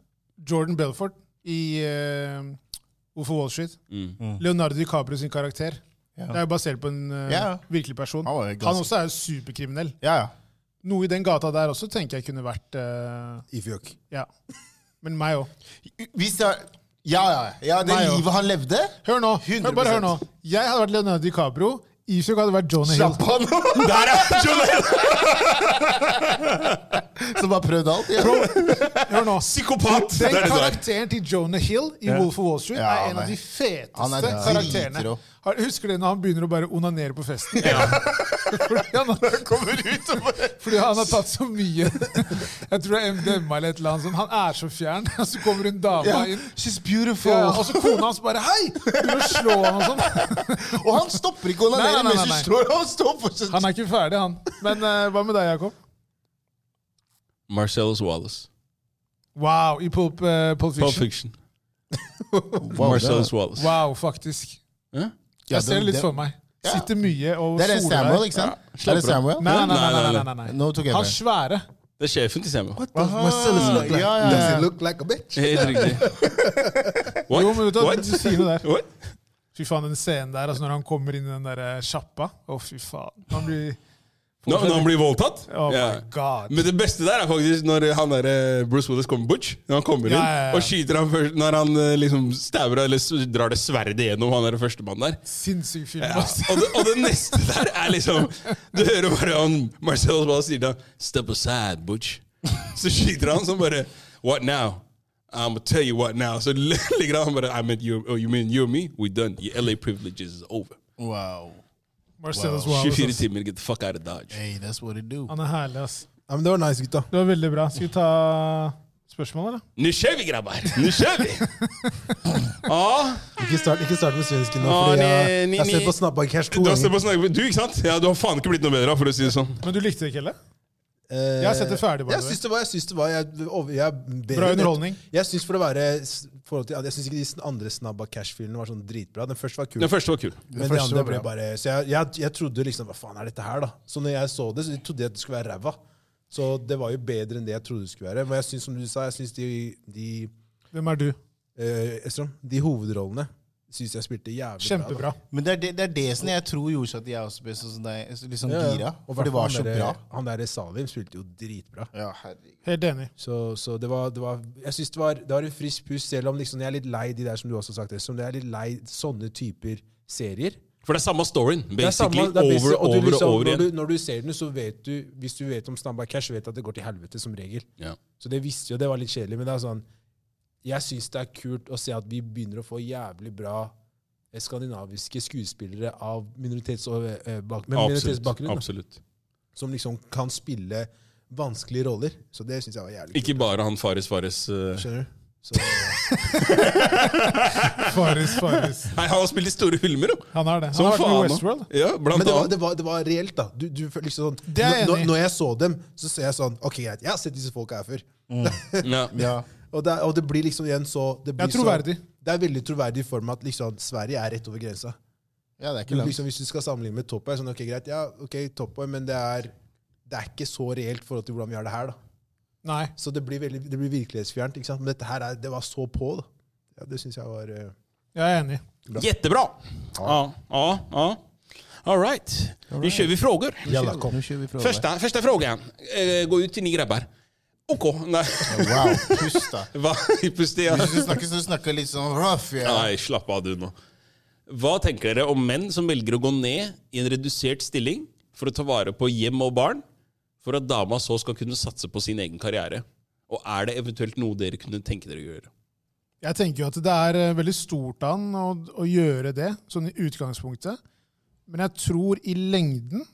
B: Jordan Belfort i uh, Wall Street.
D: Mm.
B: Leonardo DiCaprio sin karakter. Det er jo basert på en eh,
D: Ja.
B: virkelig person.
D: Han var jo
B: Han,
D: ganske-
B: også er jo superkriminell.
D: Ja, ja.
B: Noe i den gata der også tenker jeg kunne vært eh,
E: Ifjok.
B: Ja. Men meg òg.
D: Hvis det er ja, ja, ja. Det
B: Nei, jo.
D: livet han levde?
B: Hør nå, hør, bare hør nå.
D: 100%.
B: Jeg hadde vært Leonardo DiCaprio Ishuk hadde vært Jonah Hill.
D: Slapp av nå!
G: Der, ja! John Lennon!
D: Som har prøvd alt. Ja.
B: Hør nå.
G: Psykopat! Det
B: Den
G: er det du er.
B: karakteren til Jonah Hill i Wolf of Wall Street
D: Ja,
B: er en av
D: nei.
B: de feteste
D: Han er
B: karakterene.
D: dritrå.
B: Har- Husker du når han begynner å bare onanere på festen? fordi, han, har- fordi han har tatt så mye Jeg tror det er MDMA eller et eller annet sånt. Han er så fjern, og så kommer hun dama inn.
D: She's beautiful.
B: Ja, og så kona hans bare 'hei!' Begynner å slå han og sånn.
D: Og han stopper ikke å
B: Nei, nei,
D: onanere
B: nei,
D: mens du
B: nei.
D: slår. Han står fortsatt.
B: Han er ikke ferdig, han. Men eh, hva med deg, Jakob?
C: Marcellus Wallace.
B: Wow, i Pulp, eh, Pulp
C: Pulp
B: Fiction.
C: Fiction.
D: Wow,
C: Marcellus Wallace.
B: Wow, faktisk.
D: Ja,
B: Jeg ser det litt for meg.
D: Ja.
B: Sitter mye og
D: Det er det
B: soler
D: Samuel,
B: deg.
D: ikke sant?
C: Slapper
D: Er det
C: av.
D: Samuel?
B: Nei, nei, nei. nei, nei, nei, nei.
D: Nå tok jeg
B: Han
D: med.
B: sjefen.
C: Det er sjefen til Samuel.
H: What does
B: Ah,
H: Marcellus look like?
D: Ja, ja, ja.
H: Does he look like a bitch?
C: Helt riktig. What?
B: Jo, men vet du, hva?
C: What?
B: du sier noe der.
C: What?
B: Fy faen, den scenen der, altså når han kommer inn i den der eh, sjappa Å, fy faen. Han blir
C: Nå- Når han blir voldtatt?
B: Oh
C: Ja.
B: my god.
C: Men det beste der er faktisk når han der, eh, Bruce Willis kommer Butch, når han kommer inn
B: Ja, ja, ja.
C: og skyter han først når han eh, liksom stabber eller s- drar det sverdet gjennom han der førstemann der.
B: Sinnssyk film.
C: Ja.
B: ass.
C: Og, det, og det neste der er liksom Du hører bare han Marcel Osvald sier da 'Step aside, Butch'. Så skyter han sånn bare 'What now?' I'm gonna tell you what now. Så ligger han bare I meant you, oh, you mean you and me? We done. Your LA privileges is over.
D: Wow.
B: Marcellus
D: Wow.
B: Wallace.
C: 24
B: ass.
C: timer, get the fuck out of Dodge.
D: Hey, that's what it do.
B: altså. Han er herlig, ass.
E: Ja, men det var nice, gutta.
B: Det var veldig bra. Skal vi ta spørsmål, eller?
C: Nå kjører vi, grabbar! Nå kjører vi! ah,
E: Ikke start, ikke start med svensken nå,
B: Ah,
C: Å,
E: fordi jeg,
C: nei, nei,
E: jeg har sett
C: nei.
E: på Snapbacash to
C: du har sett
E: ganger.
C: på snakke Du, ikke sant? Ja, du har faen ikke blitt noe bedre, av, for å si det sånn.
B: Men du likte det ikke, eller?
E: Eh,
B: Jeg har sett det ferdig, by
E: Jeg
B: the way.
E: syns det var, jeg syns det var jeg, over- jeg,
B: Bra
E: bedre enn det.
B: underholdning.
E: Jeg syns for å være s- forhold til, Jeg syns ikke de andre Snabba Cash-filmene var sånn dritbra. Den første var kul.
C: Den første var kul.
E: Men det
B: første
E: andre
B: var
E: ble
B: bra.
E: bare Så jeg, jeg, jeg trodde liksom Hva faen er dette her, da? Så når jeg så det, så trodde jeg at det skulle være ræva. Så det var jo bedre enn det jeg trodde det skulle være. Men jeg syns, som du sa, jeg syns de, de
B: Hvem er du?
E: eh, Estrom, de hovedrollene syns jeg spilte jævlig bra.
B: Kjempebra.
D: Men det er det, det, er det som jeg tror gjorde at jeg også ble sånn som deg, så liksom
E: da.
D: gira.
E: Og
D: For det var så
E: han der-
D: bra.
E: Han der Salim spilte jo dritbra.
D: Ja, herregud.
B: Helt enig.
E: Så, så det var, det var Jeg syns det, var- det var en frisk pust, selv om liksom, jeg er litt lei de der som du også har sagt, Estrom. Jeg er litt lei sånne typer serier.
C: For det er samme storyen,
E: Det er
C: basically.
E: samme- det er basic-
C: over
E: og
C: og
E: du
C: over
E: liksom,
C: og over
E: Når
C: igjen.
E: du, når du ser den, så vet du hvis du vet om Snabba Cash, så vet du at det går til helvete som regel.
C: Ja.
E: Så det visste jo, det var litt kjedelig, men det er sånn Jeg syns det er kult å se at vi begynner å få jævlig bra eh, skandinaviske skuespillere av minoritets- og, eh, bak, med
C: Absolutt.
E: minoritetsbakgrunn da,
C: Absolutt.
E: som liksom kan spille vanskelige roller. Så det syns jeg var jævlig kult.
C: Ikke bare han Fares Fares eh,
E: Skjønner du? Så,
B: Faris, Faris.
C: Nei, han har spilt i store filmer, jo!
B: Han er det. Han
C: Som
B: har vært med i
C: faen.
B: Westworld.
C: da. Ja, blant
E: men det var,
C: annet.
E: det, var, det var reelt, da. Du, du, følte liksom sånn,
B: Det er jeg
E: når-
B: enig i.
E: når jeg så dem, så ser jeg sånn Ok, greit, jeg har sett disse folka her før.
C: Ja.
D: Ja.
E: Og det, er- og det blir liksom igjen så det blir
B: Det er troverdig.
E: Så, det er veldig troverdig i form av at liksom, Sverige er rett over grensa.
D: ja, det er
E: Du,
D: ikke langt.
E: liksom, hvis du skal sammenligne med Top Boy, sånn, ok, greit, ja, ok, Top Boy, men det er, det er ikke så reelt i forhold til hvordan vi har det her. da.
B: Nei.
E: Så det blir, veldig, det blir virkelighetsfjernt. ikke sant? Men dette her er, det var så på. da. Ja, det syns jeg var eh,
B: Jeg er enig.
C: Jättebra! Ja, ja, ja. All right. Nu kör vi frågor.
E: Jalla, kom.
D: Nå kjører vi fra
C: Första, första frågan. Eh, gå ut till ni grabbar. OK. Nej,
D: Wow, pust da.
C: va? Puss det.
D: Hvis du snakker, så snakker litt sånn rough. Ja.
C: Nei, slapp av du nå. Hva tenker dere om menn som velger å gå ned i en redusert stilling for å ta vare på hjem og barn, for at dama så skal kunne satse på sin egen karriere? Og er det eventuelt noe dere kunne tenke dere å gjøre?
B: Jeg tenker jo at det er eh, veldig stort av han å, å gjøre det, sånn i utgangspunktet. Men jeg tror i lengden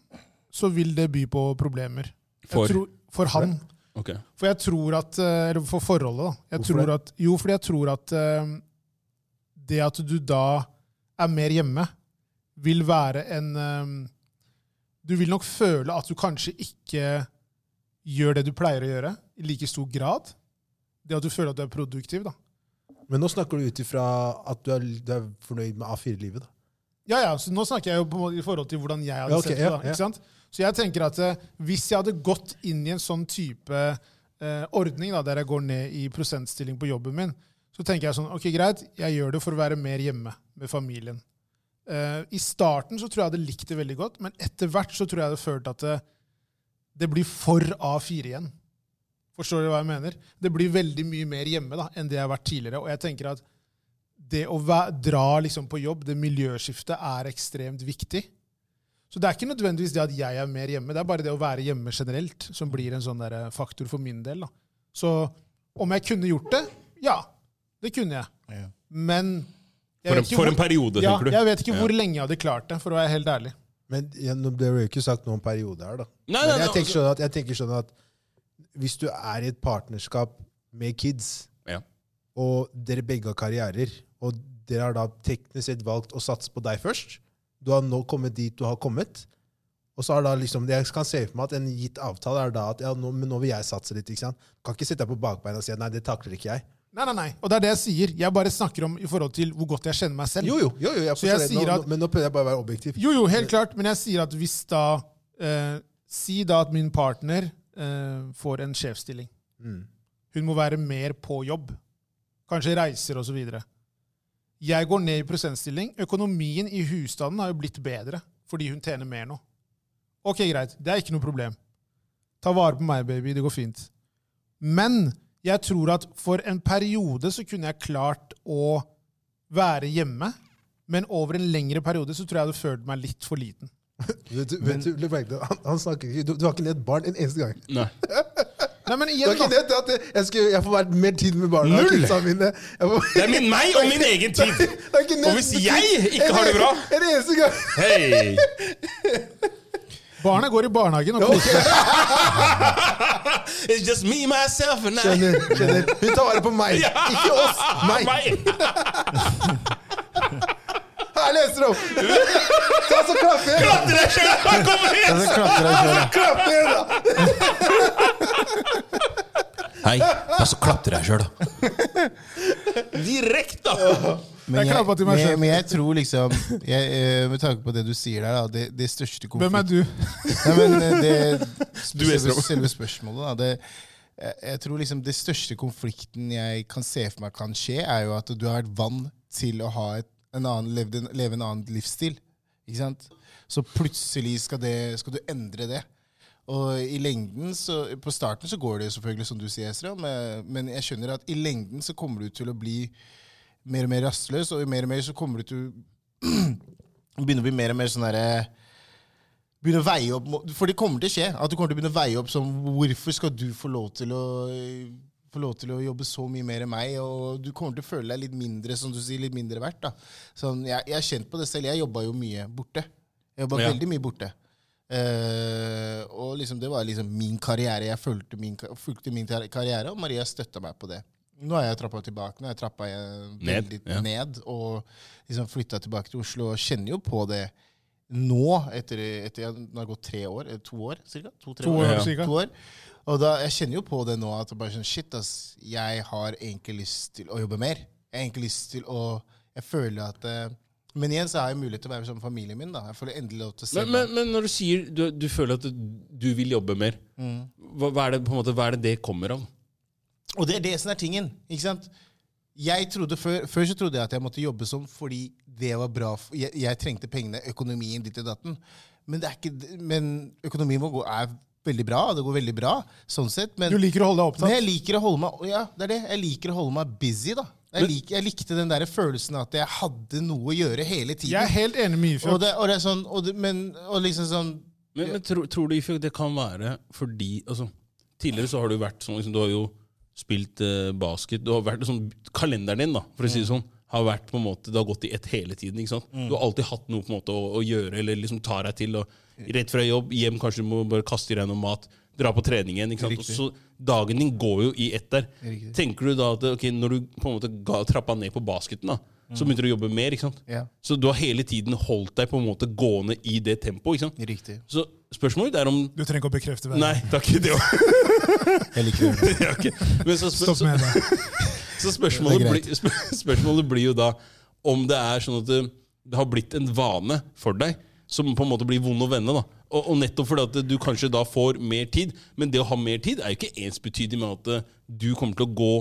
B: så vil det by på problemer. Jeg
C: For?
B: Tror, for han.
C: Ok.
B: For jeg tror at eh, Eller for forholdet, da. Jeg
E: Hvorfor
B: tror at, jo, fordi jeg tror at eh, det at du da er mer hjemme, vil være en eh, Du vil nok føle at du kanskje ikke gjør det du pleier å gjøre, i like stor grad. Det at du føler at du er produktiv, da.
E: Men nå snakker du ut ifra at du er, du er fornøyd med A4-livet. da.
B: Ja, ja, så Nå snakker jeg jo på en måte i forhold til hvordan jeg hadde
E: Ja, ok,
B: sett det. da,
E: ja, ja.
B: ikke sant? Så jeg tenker at eh, Hvis jeg hadde gått inn i en sånn type eh, ordning, da, der jeg går ned i prosentstilling på jobben min, så tenker jeg sånn Ok, greit, jeg gjør det for å være mer hjemme med familien. Eh, I starten så tror jeg jeg hadde likt det veldig godt, men etter hvert så tror jeg jeg hadde følt at det, det blir for A4 igjen. Forstår dere hva jeg mener? Det blir veldig mye mer hjemme da, enn det jeg har vært tidligere. Og jeg tenker at det å væ- dra liksom på jobb, det miljøskiftet, er ekstremt viktig. Så det er ikke nødvendigvis det at jeg er mer hjemme, det er bare det å være hjemme generelt som blir en sånn der faktor for min del. Da. Så om jeg kunne gjort det? Ja, det kunne jeg.
D: Ja.
B: Men jeg
C: For
B: vet
C: en,
B: ikke
C: for
B: hvor-
C: en periode,
B: ja,
C: tenker du?
B: Jeg vet ikke hvor lenge jeg hadde klart det, for å være helt ærlig.
E: Men ja, nå ble det jo ikke sagt noe om periode her, da.
C: Nei, nei,
E: Men
C: nei, altså-
E: jeg tenker sånn at, jeg tenker sånn at hvis du er i et partnerskap med kids,
C: Ja.
E: og dere begge har karrierer, og dere har da teknisk sett valgt å satse på deg først Du har nå kommet dit du har kommet. Og så er da liksom, Jeg kan se for meg at en gitt avtale er da at ja, nå, men nå vil jeg satse litt. ikke sant? Kan ikke sitte deg på bakbeina og si at nei, det takler ikke jeg.
B: Nei, nei, nei. Og det er det jeg sier. Jeg bare snakker om i forhold til hvor godt jeg kjenner meg selv.
E: Jo, jo, jo, jo jeg
B: Så jeg
E: forstår det.
B: sier
E: Nå,
B: at-
E: nå, men nå prøver jeg bare å være objektiv.
B: Jo, jo, helt klart. Men jeg sier at hvis da eh, Si da at min partner eh, får en sjefsstilling. Hun må være mer på jobb. Kanskje reiser osv. Jeg går ned i prosentstilling. Økonomien i husstanden har jo blitt bedre fordi hun tjener mer nå. Ok, greit. Det er ikke noe problem. Ta vare på meg, baby. Det går fint. Men jeg tror at for en periode så kunne jeg klart å være hjemme. Men over en lengre periode så tror jeg jeg hadde følt meg litt for liten.
E: Vet du, vet du, legg merke til, han, han snakker ikke, du, du har ikke nett barn en eneste gang.
C: nei.
B: Nei, men
E: Du
B: igjen
E: har ikke
B: da.
E: nett at jeg, jeg, skulle, jeg får vært mer tid med barna og
C: Null!
E: kidsa mine. Jeg får,
C: Det er min meg og min egen tid!
E: Det er ikke
C: Og hvis jeg ikke har det bra
E: En eneste gang!
C: Hei!
B: Barna går i barnehagen og koser seg.
C: It's just me, myself and I.
E: Skjønner, skjønner. Hun tar vare på meg, ikke oss. Meg.
C: Meg.
E: Her leser du opp! Ta så klapp igjen!
C: Klatre deg selv! Kom igjen!
D: Så klatrer jeg selv.
E: Klapp igjen, da!
F: Hei, pass og klatre deg sjøl, da.
C: Direkte, da!
D: Men
B: Jeg
D: jeg,
B: klapper til meg
D: men, jeg,
B: selv.
D: men jeg tror liksom jeg, eh, Med tanke på det du sier der, da, det, det største konflikt-
B: Hvem er du?
D: Nei, men eh, det,
C: Du er
D: selve, selve spørsmålet, da. Det, jeg, jeg tror liksom det største konflikten jeg kan se for meg kan skje, er jo at du har vært vant til å ha et, en annen, levd en, leve en annen livsstil. Ikke sant? Så plutselig skal, det, skal du endre det. Og i lengden, så, På starten så går det jo selvfølgelig som du sier, Esra, men, men jeg skjønner at i lengden så kommer du til å bli mer og mer rastløs, og mer og mer så kommer du til å begynne å bli mer og mer sånn derre begynne å veie opp må- For det kommer til å skje. At du kommer til å begynne å veie opp som Hvorfor skal du få lov til å få lov til å jobbe så mye mer enn meg, og du kommer til å føle deg litt mindre som du sier, litt mindre verdt. da. Sånn, jeg, jeg har kjent på det selv. Jeg jobba jo mye borte. Jeg jobba
C: Ja.
D: veldig mye borte. Eh, og liksom, det var liksom min karriere. Jeg fulgte min, ka- fulgte min kar- karriere, og Maria støtta meg på det. Nå er jeg trappa tilbake. Nå er jeg trappa jeg
C: Ned,
D: veldig
C: ja.
D: ned og liksom flytta tilbake til Oslo. Og kjenner jo på det nå, etter, etter jeg, nå har det gått tre år, eh, to år cirka? To, tre
B: To år,
C: Ja.
B: cirka.
D: To år. Og da, jeg kjenner jo på det nå at det bare er sånn, shit, ass, jeg har egentlig lyst til å jobbe mer. Jeg har egentlig lyst til å Jeg føler at eh, Men igjen så har jeg mulighet til å være sammen med familien min. da. Jeg får endelig lov til å se
C: Men, men, men når du sier du, du føler at du, du vil jobbe mer,
B: Mm.
C: hva, hva, er det, på en måte, hva er det det kommer av?
D: meg. Og det er det som er tingen. ikke sant? Jeg trodde Før, før så trodde jeg at jeg måtte jobbe som fordi det var bra. f- Jeg, jeg trengte pengene, økonomien, ditt og datten. Men, det er ikke, d- men økonomien vår går- er veldig bra, og det går veldig bra. sånn sett. Men
B: Du liker å holde deg
D: Men
B: opptatt.
D: jeg liker å holde meg Ja, det er det. Jeg liker å holde meg busy, da. Jeg, lik, jeg likte den der følelsen at jeg hadde noe å gjøre hele tiden.
B: Jeg er helt enig med
D: og,
B: Ifjok.
D: det, og det er sånn og det, Men og liksom sånn
C: Men, men tror, tror du Ifjok, det kan være fordi altså, Tidligere så har du vært sånn liksom, Du har jo spilt eh, basket du har vært, sånn, Kalenderen din da, for å si det sånn har vært på en måte, Det har gått i ett hele tiden. ikke sant? Du har alltid hatt noe på en måte å, å gjøre, eller liksom ta deg til. og Rett fra jobb, hjem, kanskje du må bare kaste i deg noe mat, dra på trening igjen. ikke sant? Og så Dagen din går jo i ett der. Tenker du da at ok, når du på en måte ga, trappa ned på basketen, da, så begynte du å jobbe mer? ikke sant?
D: Ja.
C: Så du har hele tiden holdt deg på en måte gående i det tempoet. ikke sant?
D: Riktig.
C: Så spørsmålet mitt er om
B: Du trenger ikke å bekrefte
C: Nei,
B: hverandre.
C: takk. Det var
D: Jeg liker det.
C: ja, ok. Men så, spør,
B: Stopp med det.
C: så spørsmålet,
D: Det er greit.
C: blir- spør, spørsmålet blir jo da om det er sånn at det, det har blitt en vane for deg som på en måte blir vond å vende. da. Og, og nettopp fordi at du kanskje da får mer tid, men det å ha mer tid er jo ikke ensbetydig med at eh, du kommer til å gå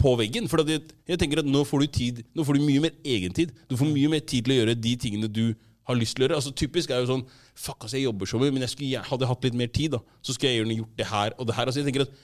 C: på veggen. For at jeg, jeg tenker at nå får du tid, nå får du mye mer egentid. Du får mye mer tid til å gjøre de tingene du har lyst til å gjøre. Altså Typisk er jo sånn Fuck, altså, jeg jobber så mye, men jeg skulle, gjer- hadde jeg hatt litt mer tid, da, så skulle jeg gjerne gjort det her og det her. Altså jeg tenker at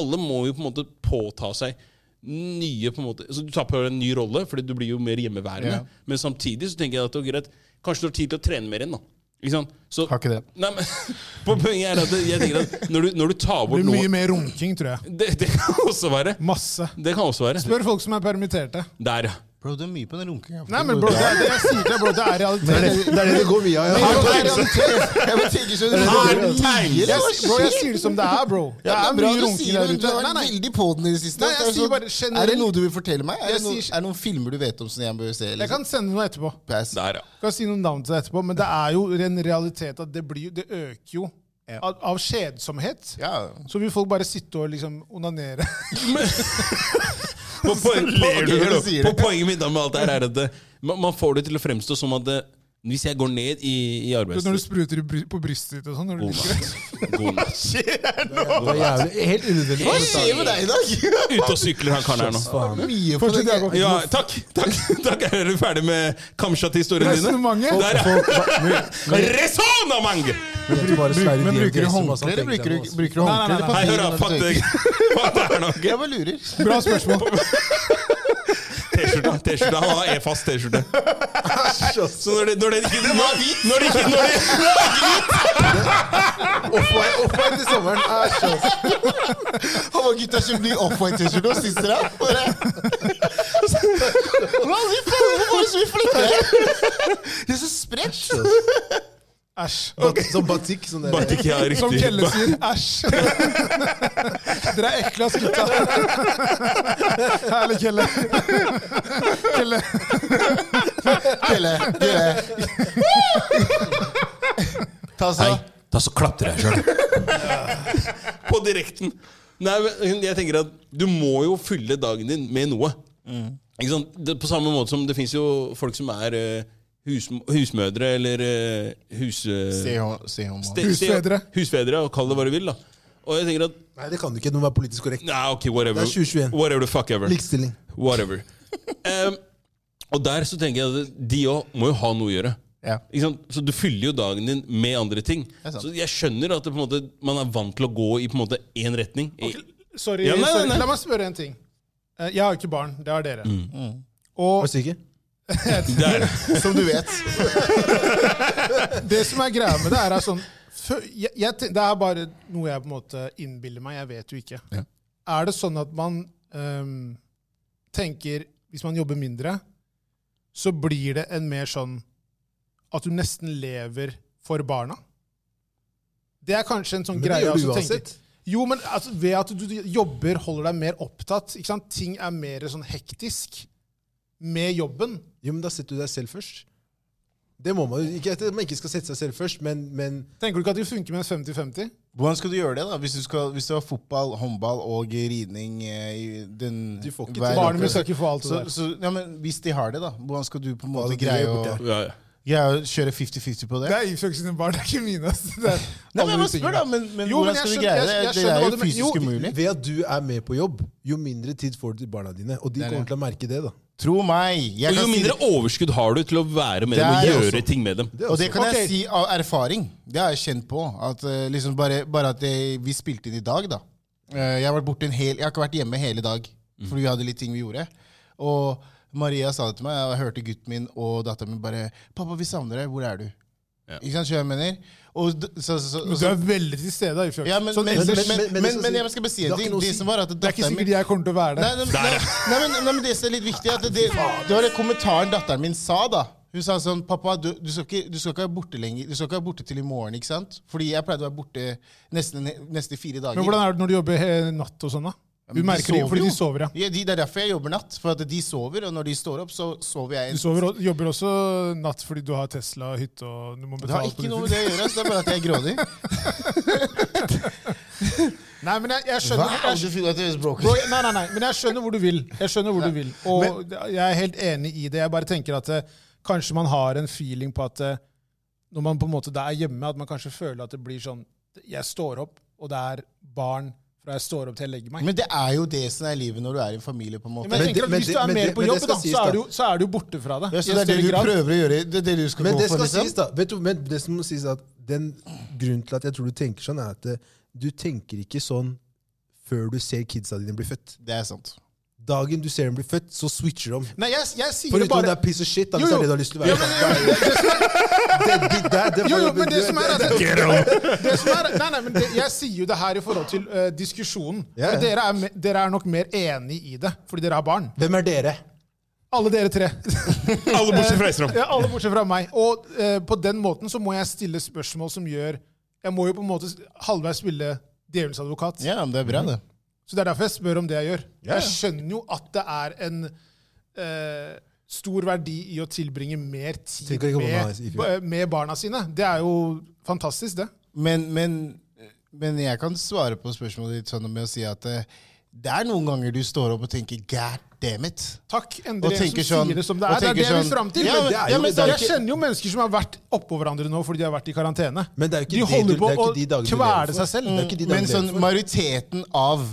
C: Alle må jo på en måte påta seg nye på en måte, altså Du tar på deg en ny rolle, fordi du blir jo mer hjemmeværende. Men samtidig så tenker jeg at det er greit, kanskje du har tid til å trene mer igjen. da Ikke sant? Så,
D: Har ikke det.
C: nei, men, på poenget er at det- jeg tenker at når du, når du tar
B: Det
C: bort
B: blir
C: noe
B: mye mer runking, tror jeg.
C: det, det kan også være.
B: Masse.
C: Det kan også være.
B: Spør folk som er permitterte.
C: Der, ja.
D: Bro, du er mye på den runkinga.
B: Nei, men bro, det er det jeg sier til deg, bro. Det er
H: Det
B: realitet.
H: er det det går mye av. Ja.
D: Jeg må tenke sånn
B: Jeg, bro, jeg sier det som det er, bro. Det
D: Ja,
B: er
D: men bra
B: mye
D: du
B: runking
D: sier
B: der
D: det. Du
B: ute.
D: har
B: Nei, nei.
D: vært veldig på den i det siste.
B: Nei, jeg
D: Det er
B: sier
D: sånn-
B: bare generelt-
D: Er det noe du vil fortelle meg? Er
B: Jeg
D: det, noe,
B: sier-
D: er det noen filmer du vet om som jeg bør se? Liksom?
B: Jeg kan sende noe etterpå.
D: pass.
C: Der, ja.
B: Skal si noen navn til deg etterpå, men det er jo en realitet at det, blir, jo- det øker jo av, av kjedsomhet.
D: Ja.
B: Så vil folk bare sitte og liksom onanere.
C: På, poeng,
D: ler du når du sier
C: på,
D: det.
C: på poenget mitt da med alt det her er at det, man, man får det til å fremstå som at det, hvis jeg går ned i, i
B: Når du
C: arbeidstid
B: spruter i bry- på brystet ditt og sånn. når du
C: God
B: ligger-
C: natt. God natt.
E: Det er jævlig, helt unødvendig.
D: Hva skjer med deg i dag?
C: Ute og sykler han karen her nå.
D: Mye for
B: Fortsett,
D: deg.
B: Jakob.
C: Ja, takk! takk, takk. Er du ferdig med Kamchat-historiene dine?
B: Resonnementet.
C: Der, ja. Resonnement!
H: Men bruker du
D: Håndkle eller bruker du bruker du
B: Nei, nei,
D: håndkle?
B: nei,
D: eller papir når du
C: Hei, hør da, fuck
D: tørker?
C: deg. Fuck det her nå.
D: Jeg bare lurer.
B: Bra spørsmål.
C: T-skjorta. T-skjorta, Han har E-fast T-skjorte. Så når det, når det ikke Når det ikke, når det ikke, når det,
H: Off-white til sommeren. Æsj, ass.
D: Han var gutta som blir offwhite-T-skjorte og sitter der. Bare Hva i faen, hvorfor er det så mye flekker her? Det er så spredt.
B: Æsj.
H: Bat- Sånn batikk. Sånn der.
C: Bare ikke er
B: Som Kjelle
C: riktig.
B: sier, æsj. Dere er ekle, ass, gutta. Herlig, Kjelle. Kjelle.
D: Kjelle, Kjelle. Ta seg
F: Hei,
D: av.
F: ta så klapper jeg sjøl.
C: På direkten. Nei, men jeg tenker at du må jo fylle dagen din med noe.
D: Mm.
C: Ikke sant? Det, på samme måte som det fins jo folk som er eh, hus, husmødre eller eh, hus...
D: Se hå- se hå-
C: ste-
B: Husfedre.
C: Se, husfedre, og kall det hva du vil, da. Og jeg tenker at
E: Nei, det kan du ikke. Det må være politisk korrekt.
C: Nei, ok, whatever.
E: Det er Liksom. 2021.
C: Whatever the fuck ever.
E: Likestilling.
C: Whatever. Em, og der så tenker jeg at de òg må jo ha noe å gjøre.
D: Ja.
C: Ikke sant? Så du fyller jo dagen din med andre ting.
D: er sant.
C: Så jeg skjønner at det, på en måte, man er vant til å gå i på en måte én retning. I-
B: Sorry,
C: Ja, nei, nei, nei.
B: sorry. La meg spørre en ting. Eh, Jeg har jo ikke barn. Det har dere. Mm.
E: Var
B: Og
E: du syke?
C: Der.
D: Som du vet.
B: det som er greia med det, er at sånn fø- jeg, jeg, ten- Det er bare noe jeg på en måte innbiller meg. Jeg vet jo ikke. Er det sånn at man ehm, tenker Hvis man jobber mindre, så blir det en mer sånn at du nesten lever for barna? Det er kanskje en sånn
E: Men det
B: greie
E: gjør du
B: jeg også tenker.
E: uansett.
B: Jo, men altså, ved at du jobber, holder deg mer opptatt. Ikke sant? Ting er mer sånn hektisk med jobben.
E: Jo, men da setter du deg selv først. Det må man jo. Ikke at man ikke skal sette seg selv først, men, men
B: Tenker du ikke at det funker med en 50-50?
D: Hvordan skal du gjøre det, da? Hvis du, skal, hvis du har fotball, håndball og ridning eh, i den
E: Du får ikke
D: hver
E: til.
B: Barnet
D: uke.
B: mitt skal ikke få alt det
D: så,
B: der.
D: så, ja, men Hvis de har det, da. Hvordan skal du på en måte
E: det
D: greie
E: gjør
D: å,
E: borte
C: Ja, ja.
D: greie å kjøre 50-50 på det?
B: Det er Ifjok sine barn, det er ikke mine. ass. Det er
D: Nei, men jeg
B: andre
D: bare spør,
B: tingene.
D: da. Men, men
B: Jo, men jeg
D: hvordan skal du
B: skjønner-
D: greie
B: jeg-
D: det?
B: jeg
D: Det
B: skjønner
D: er
B: hva
D: jo
B: du mener. Jo,
D: fysisk umulig.
E: ved at du er med på jobb, jo mindre tid får du til barna dine. Og de
D: er
E: kommer
D: det.
E: til å merke det, da.
D: Tro meg. Jeg
C: Og jo
D: kan si
C: mindre
D: det.
C: overskudd har du til å være med
D: Det
C: dem og
D: er
C: gjøre
D: også-
C: ting med dem.
D: Og det kan
B: Ok.
D: jeg si av erfaring. Det har jeg kjent på. At, eh, liksom bare, bare at jeg, vi spilte inn i dag, da. Eh, jeg, har vært borte en hel, jeg har ikke vært hjemme hele dag, fordi vi hadde litt ting vi gjorde. Og Maria sa det til meg, og jeg hørte gutten min og datteren min bare 'Pappa, vi savner deg. Hvor er du?' Ikke sant, skjønner du hva jeg mener? Og, d- så, så, så,
B: Men Du
D: så,
B: er veldig til stede, Ifjok.
D: ja, men,
B: Sånn
D: men,
B: ellers-
D: men,
B: det
D: men,
E: men- men det
D: men, men jeg
E: skal si-
D: skal bare si
E: det
D: en
E: har
D: ting.
E: ikke noe å
D: Det
E: si.
D: som var
B: er
D: at
B: ikke
D: datteren min
B: sikkert jeg kommer til å være
D: Nei,
B: der.
D: nei, nei, nei, men, nei, men det som er litt viktig, er at det, det var den kommentaren datteren min sa, da. Hun sa sånn Pappa, du, du, skal ikke, du skal ikke være borte lenger. Du skal ikke være borte til i morgen, ikke sant? Fordi jeg pleide å være borte nesten neste fire dager.
B: Men hvordan er det når du jobber he- natt og sånn, da? Du
D: De
B: merker det
D: sover
B: fordi
D: jo.
B: de sover, ja.
D: ja de, det er derfor jeg jobber natt. For at de sover, og når de står opp, så sover jeg.
B: Du sover, og- jobber også natt fordi du har Tesla, hytte og du må
D: Det har
B: betale på
D: ikke noe med
B: det.
D: det å gjøre. Så det er bare at jeg er grådig.
B: Nei, men jeg, jeg
D: Wow,
B: skjønner jeg,
D: du føler at det er broken.
B: Bro, jeg- nei, nei, nei, men jeg skjønner hvor du vil. Jeg skjønner hvor du vil. Og jeg er helt enig i det. Jeg bare tenker at eh, kanskje man har en feeling på at eh, når man på en måte da er hjemme, at man kanskje føler at det blir sånn Jeg står opp, og det er barn fra jeg står opp til jeg legger meg.
D: Men det er jo det som er livet når du er i en familie, på en måte.
B: Men jeg tenker at
E: men
B: Hvis
E: det-
B: du er
E: men
B: mer
E: det-
B: på
E: men det
B: jobb,
E: skal
B: da,
E: sies,
B: så er
E: da.
B: du, så er du borte fra det.
D: Ja,
B: i
D: så
B: en
D: det er det
B: større
D: du
B: grad.
D: prøver å gjøre. Det er det du skal
E: Men
D: gå
E: det
D: for,
E: skal
D: liksom.
E: sies, da. Vet du, men det som må sies er at den Grunnen til at jeg tror du tenker sånn, er at eh, du tenker ikke sånn før du ser kidsa dine bli født.
D: Det er sant.
E: Dagen du ser dem bli født, så switcher de.
B: Nei, jeg, jeg sier det
E: Foruten om
B: bare
E: det er piece of shit, da,
B: Jo,
E: hvis sånn. det
B: jo.
E: er det du har lyst til å være.
B: Det
E: det, det, der, det,
B: Jo, jo, men det som er at det,
E: er
B: som er, nei, nei, men det, Jeg sier jo det her i forhold til eh, diskusjonen.
E: Ja, ja.
B: Og dere er, me- dere er nok mer enig i det, fordi dere har barn.
E: Hvem er dere?
B: Alle dere tre.
G: Alle bortsett fra Eistrøm.
B: Ja, alle bortsett fra meg. Og eh, på den måten så må jeg stille spørsmål som gjør Jeg må jo på en måte s- halvveis spille djevelens advokat.
D: Ja, men det er bra, det.
B: Så det er derfor jeg spør om det jeg gjør.
E: Ja, ja.
B: Jeg skjønner jo at det er en eh, stor verdi i å tilbringe mer tid
E: Tenker ikke på meg,
B: med,
E: Sif.
B: ba- eh, med barna sine. Det er jo fantastisk, det.
D: Men, men, men jeg kan svare på spørsmålet ditt sånn med å si at eh, det er noen ganger du står opp og tenker 'god damn it'.
B: Takk,
D: Og
B: endelig en som
D: tenker sånn-
B: sier det som det
D: og
B: er. Det er det
D: tenker
B: jeg vil
D: sånn-
B: fram til.
D: Ja, men-
E: ja,
B: jeg,
E: men det er
B: jeg
E: ikke-
B: kjenner jo mennesker som har vært oppå hverandre nå fordi de har vært i karantene.
E: Men det er jo ikke
B: de
E: det du-
B: holder på
E: det er
B: å
E: ikke de dagene du lever
B: kvele
E: for.
B: seg selv.
E: Det er ikke de
D: Men
E: dagene
D: sånn,
E: jeg får.
D: majoriteten av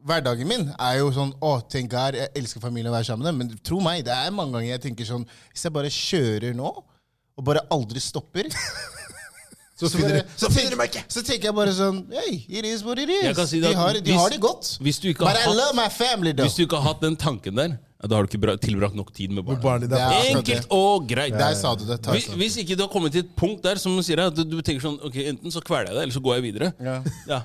D: hverdagen min er jo sånn Å, tenk her, jeg elsker familien og være sammen med dem. Men tro meg, det er mange ganger jeg tenker sånn Hvis jeg bare kjører nå, og bare aldri stopper
E: Så
D: bare-
E: finner du- så finner du meg ikke!
D: Så tenker jeg bare sånn Hey, it is what it
C: Jeg
D: is.
C: kan si det
D: de
C: at
D: har, de
C: hvis-
D: har det godt.
C: hvis du ikke har
D: But I
C: hatt-
D: love my family, though.
C: Hvis du ikke har hatt den tanken der, ja, da har du ikke bra- tilbrakt nok tid med barna.
E: Barnet ditt er
D: Ja.
E: fast.
C: Enkelt og greit.
D: Der sa du det.
C: Hvis, hvis ikke du har kommet til et punkt der som sier deg at du tenker sånn ok, Enten så kveler jeg deg, eller så går jeg videre. Ja.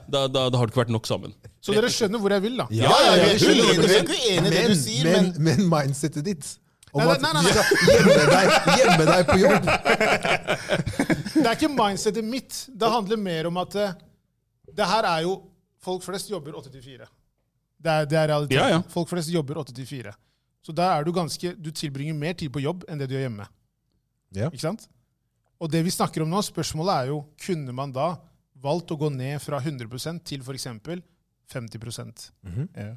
C: da, da, da har du ikke vært nok sammen.
B: Så dere skjønner hvor jeg vil, da.
D: Ja, ja, ja, vi er ikke
E: 100%.
D: uenige- vi er ikke uenige i det du sier, men,
E: men, men mindsetet ditt om
B: Nei,
E: at
B: nei, nei,
E: du
B: nei.
E: skal gjemme deg, gjemme deg på jobb
B: Det er ikke mindsetet mitt. Det handler mer om at eh, det her er jo Folk flest jobber 8 til 4. Det er, det er realiteten.
C: Ja, ja.
B: Folk flest jobber 8 til 4. Så der er du ganske Du tilbringer mer tid på jobb enn det du gjør hjemme.
E: Ja.
B: Ikke sant? Og det vi snakker om nå, spørsmålet er jo kunne man da valgt å gå ned fra 100 til f.eks. 50
D: Ja.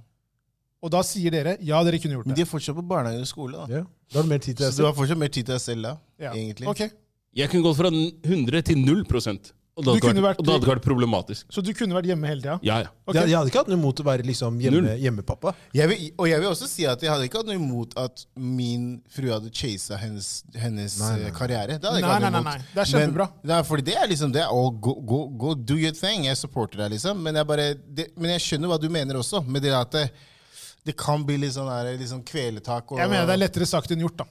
B: Og da sier dere ja, dere kunne gjort
D: men de
B: det.
D: er fortsatt på barnehage og skole, da.
E: ja. Da har du mer tid til
D: Så
E: deg
D: du
E: selv.
D: har fortsatt mer tid til deg selv da,
B: Ja.
D: egentlig.
B: Ok.
C: Jeg kunne gått fra 100 til 0 og
B: Du
C: da hadde det
B: kunne
C: vært,
B: vært-
C: og da hadde det vært problematisk.
B: Så du kunne vært hjemme hele tida?
C: Ja, ja.
B: Ok.
E: Jeg, jeg hadde ikke hatt noe imot å være liksom hjemme,
C: Null.
E: hjemmepappa.
D: Jeg vil, og jeg vil også si at jeg hadde ikke hatt noe imot at min frue hadde chasa hennes, hennes eh, karriere. Det hadde jeg
B: Nei,
D: ikke hatt noe
B: nei,
D: imot.
B: nei, nei. Det er kjempebra.
D: Men, nei, fordi det er liksom det. Å, go, go, go, do your thing. Jeg supporter deg, liksom. Men jeg, bare, det, men jeg skjønner hva du mener også, med det at det, det kan bli litt sånn der, litt sånn kveletak. Og,
B: Jeg mener det er lettere sagt enn gjort, da.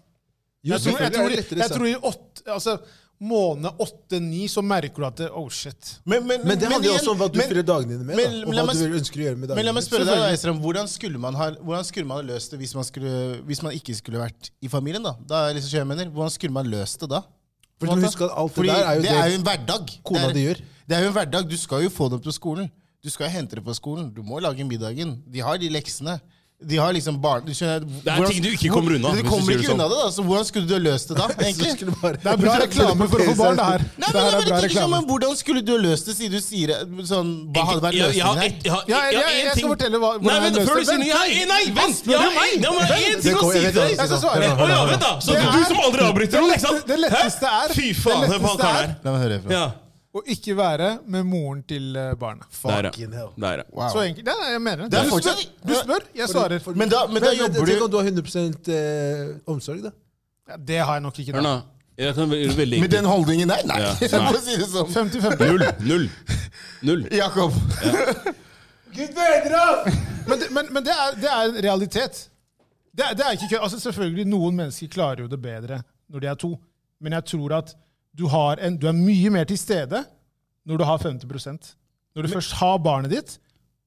E: Jo,
B: Jeg tror, jeg tror,
E: selvfølgelig er det
B: jeg
E: lettere
B: tror,
E: sagt.
B: i åtte, altså, måned åtte-ni så merker du at det, oh shit.
D: Men, men,
E: Men det handler jo
D: igjen-
E: også om hva du
D: men-
E: fyller dagene dine med.
D: men
E: da, og
D: la
E: hva
D: meg
E: du
D: s-
E: ønsker å gjøre med dagene
D: Men la meg
E: dine.
D: spørre deg, da, Estrøm, hvordan skulle man ha, hvordan skulle man ha løst det hvis man, skulle, hvis man ikke skulle vært i familien? da? Da er jeg liksom jeg mener, Hvordan skulle man løst det da?
E: Fordi du må huske at alt det
D: Fordi
E: der er jo det
D: en hverdag.
E: kona
D: Det er-
E: di gjør.
D: Det er jo en hverdag. Du skal jo få dem på skolen. Du skal hente dem på skolen. Du må lage middagen. De har de leksene. De har liksom barn... Du skjønner,
C: er ting du ikke kommer unna,
D: Du
C: hvis du
D: kommer
C: sier
D: ikke
C: det sånn.
D: unna det, da. Så hvordan skulle du ha løst det da? egentlig?
E: Skulle bare-
B: Det er bra reklame for å få barn, det her.
D: Nei,
B: det
D: men,
B: her er
D: jeg
B: bra
D: bare tenker sånn,
B: reklame.
D: men Hvordan skulle du ha løst det, siden du sier eh, sånn Hva hadde vært
C: Jeg- jeg har
D: løsningen
C: ett- jeg har-
B: Ja,
C: jeg- jeg har
B: jeg-
C: én
B: jeg skal
C: ting.
B: fortelle hva- hvordan
C: Nei, vent,
B: jeg løste
C: før du
B: det.
C: sier noe! Jeg- Nei, vent! Jeg har én- jeg har én ting å si til deg!
D: altså.
B: Jeg skal svare.
C: Å ja, vent da! Så
B: Det
C: det er du
B: er-
C: som aldri avbryter noen, ikke sant?
B: Det letteste
C: Hæ?
B: er-
C: Fy
B: det
C: faen, hør på han
B: letteste
C: karen her.
D: La meg høre fra.
C: Ja.
B: Å ikke være med moren til eh, barnet.
C: Der,
E: Fucking
C: ja.
E: hell.
C: Der, ja.
D: Wow.
B: Så enkelt. Nei, nei, jeg mener det.
D: Det er
B: du, spør,
D: fortsatt-
B: du spør, jeg svarer.
D: Men da, men da
E: Men, men,
D: jobber
E: tenk
D: du
E: om du har 100 eh, omsorg, da.
B: Ja, det har jeg nok ikke.
C: Hør nå.
B: Da.
C: Jeg kan gjøre det veldig
D: med den holdningen der? Nei,
C: Ja,
D: jeg
C: nei.
D: må si det sånn.
B: 50-50.
C: Null. Null. Null.
D: Jakob.
B: Men, det- men, men det, er, det er en realitet. Det er, det er ikke kø. Altså, selvfølgelig, noen mennesker klarer jo det bedre når de er to. Men jeg tror at du, har en, du er mye mer til stede når du har 50 Når du først har barnet ditt,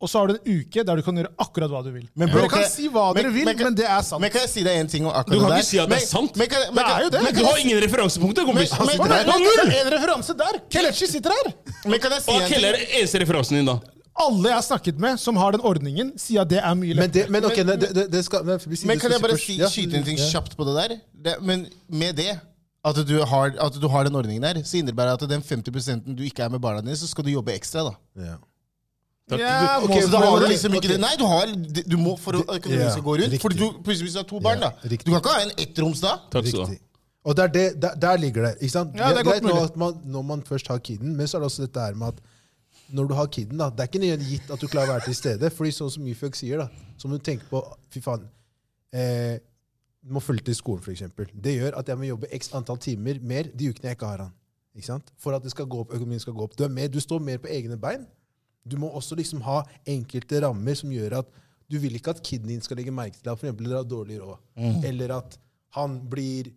B: og så har du en uke der du kan gjøre akkurat hva du vil.
D: Men bro,
B: dere kan
D: kan jeg-
B: si hva
D: men-
B: dere vil,
D: men
B: men,
D: kan-
B: det er sant.
D: Men kan jeg si deg en ting om akkurat
C: Du
D: det
C: kan
D: der?
C: ikke si at det er
D: Men-
C: sant.
D: Men, kan, men,
B: Det er jo det.
D: Men,
C: Du
D: kan,
C: har
D: jeg-
C: ingen referansepunkter, kompis!
D: Men-
B: Men, men,
C: Du har null!
B: en referanse der! Kelechi sitter her!
D: men kan jeg si
C: Hva
D: en ting?
C: Keller er eneste referansen din, da?
B: Alle jeg har snakket med som har den ordningen, sier at det er mye
E: Men,
B: lettere.
E: det, men ok, nei, det, det, det skal men, vi sier
D: Men
E: det
D: kan
E: skal
D: jeg bare
E: først.
D: si,
E: Ja.
D: skyte en ting
E: Ja.
D: kjapt på det der? Det, men med det, at du, har, at du har den ordningen der, så innebærer det at den 50 du ikke er med barna dine, så skal du jobbe ekstra, da.
E: Ja.
B: Ja,
E: Ok,
B: må-
D: Så da har du
E: Ok,
D: liksom ikke
E: ok.
D: det. Nei, du har, du må for at økonomien skal gå rundt.
E: riktig.
D: Fordi du plutselig hvis du har to barn,
E: Ja,
D: da. Du
E: riktig.
D: kan ikke ha en ettroms da.
C: Takk skal du ha.
E: Riktig. Og der, det, der, der ligger det. ikke sant?
B: Ja, det er godt
E: greit nå
B: mulig.
E: at man, når man først har kiden, men så er det også dette her med at når du har kiden, da, det er ikke nødvendigvis gitt at du klarer å være til stede. fordi sånn som Yfjok sier, da, så må du tenke på fy faen, eh, du må følge til skolen, f.eks. Det gjør at jeg må jobbe x antall timer mer de ukene jeg ikke har han. ikke sant? For at det skal gå opp, økonomien skal gå opp. Du, er mer, du står mer på egne bein. Du må også liksom ha enkelte rammer som gjør at du vil ikke at kiden din skal legge merke til at for eksempel dere har dårlig råd, eller at han blir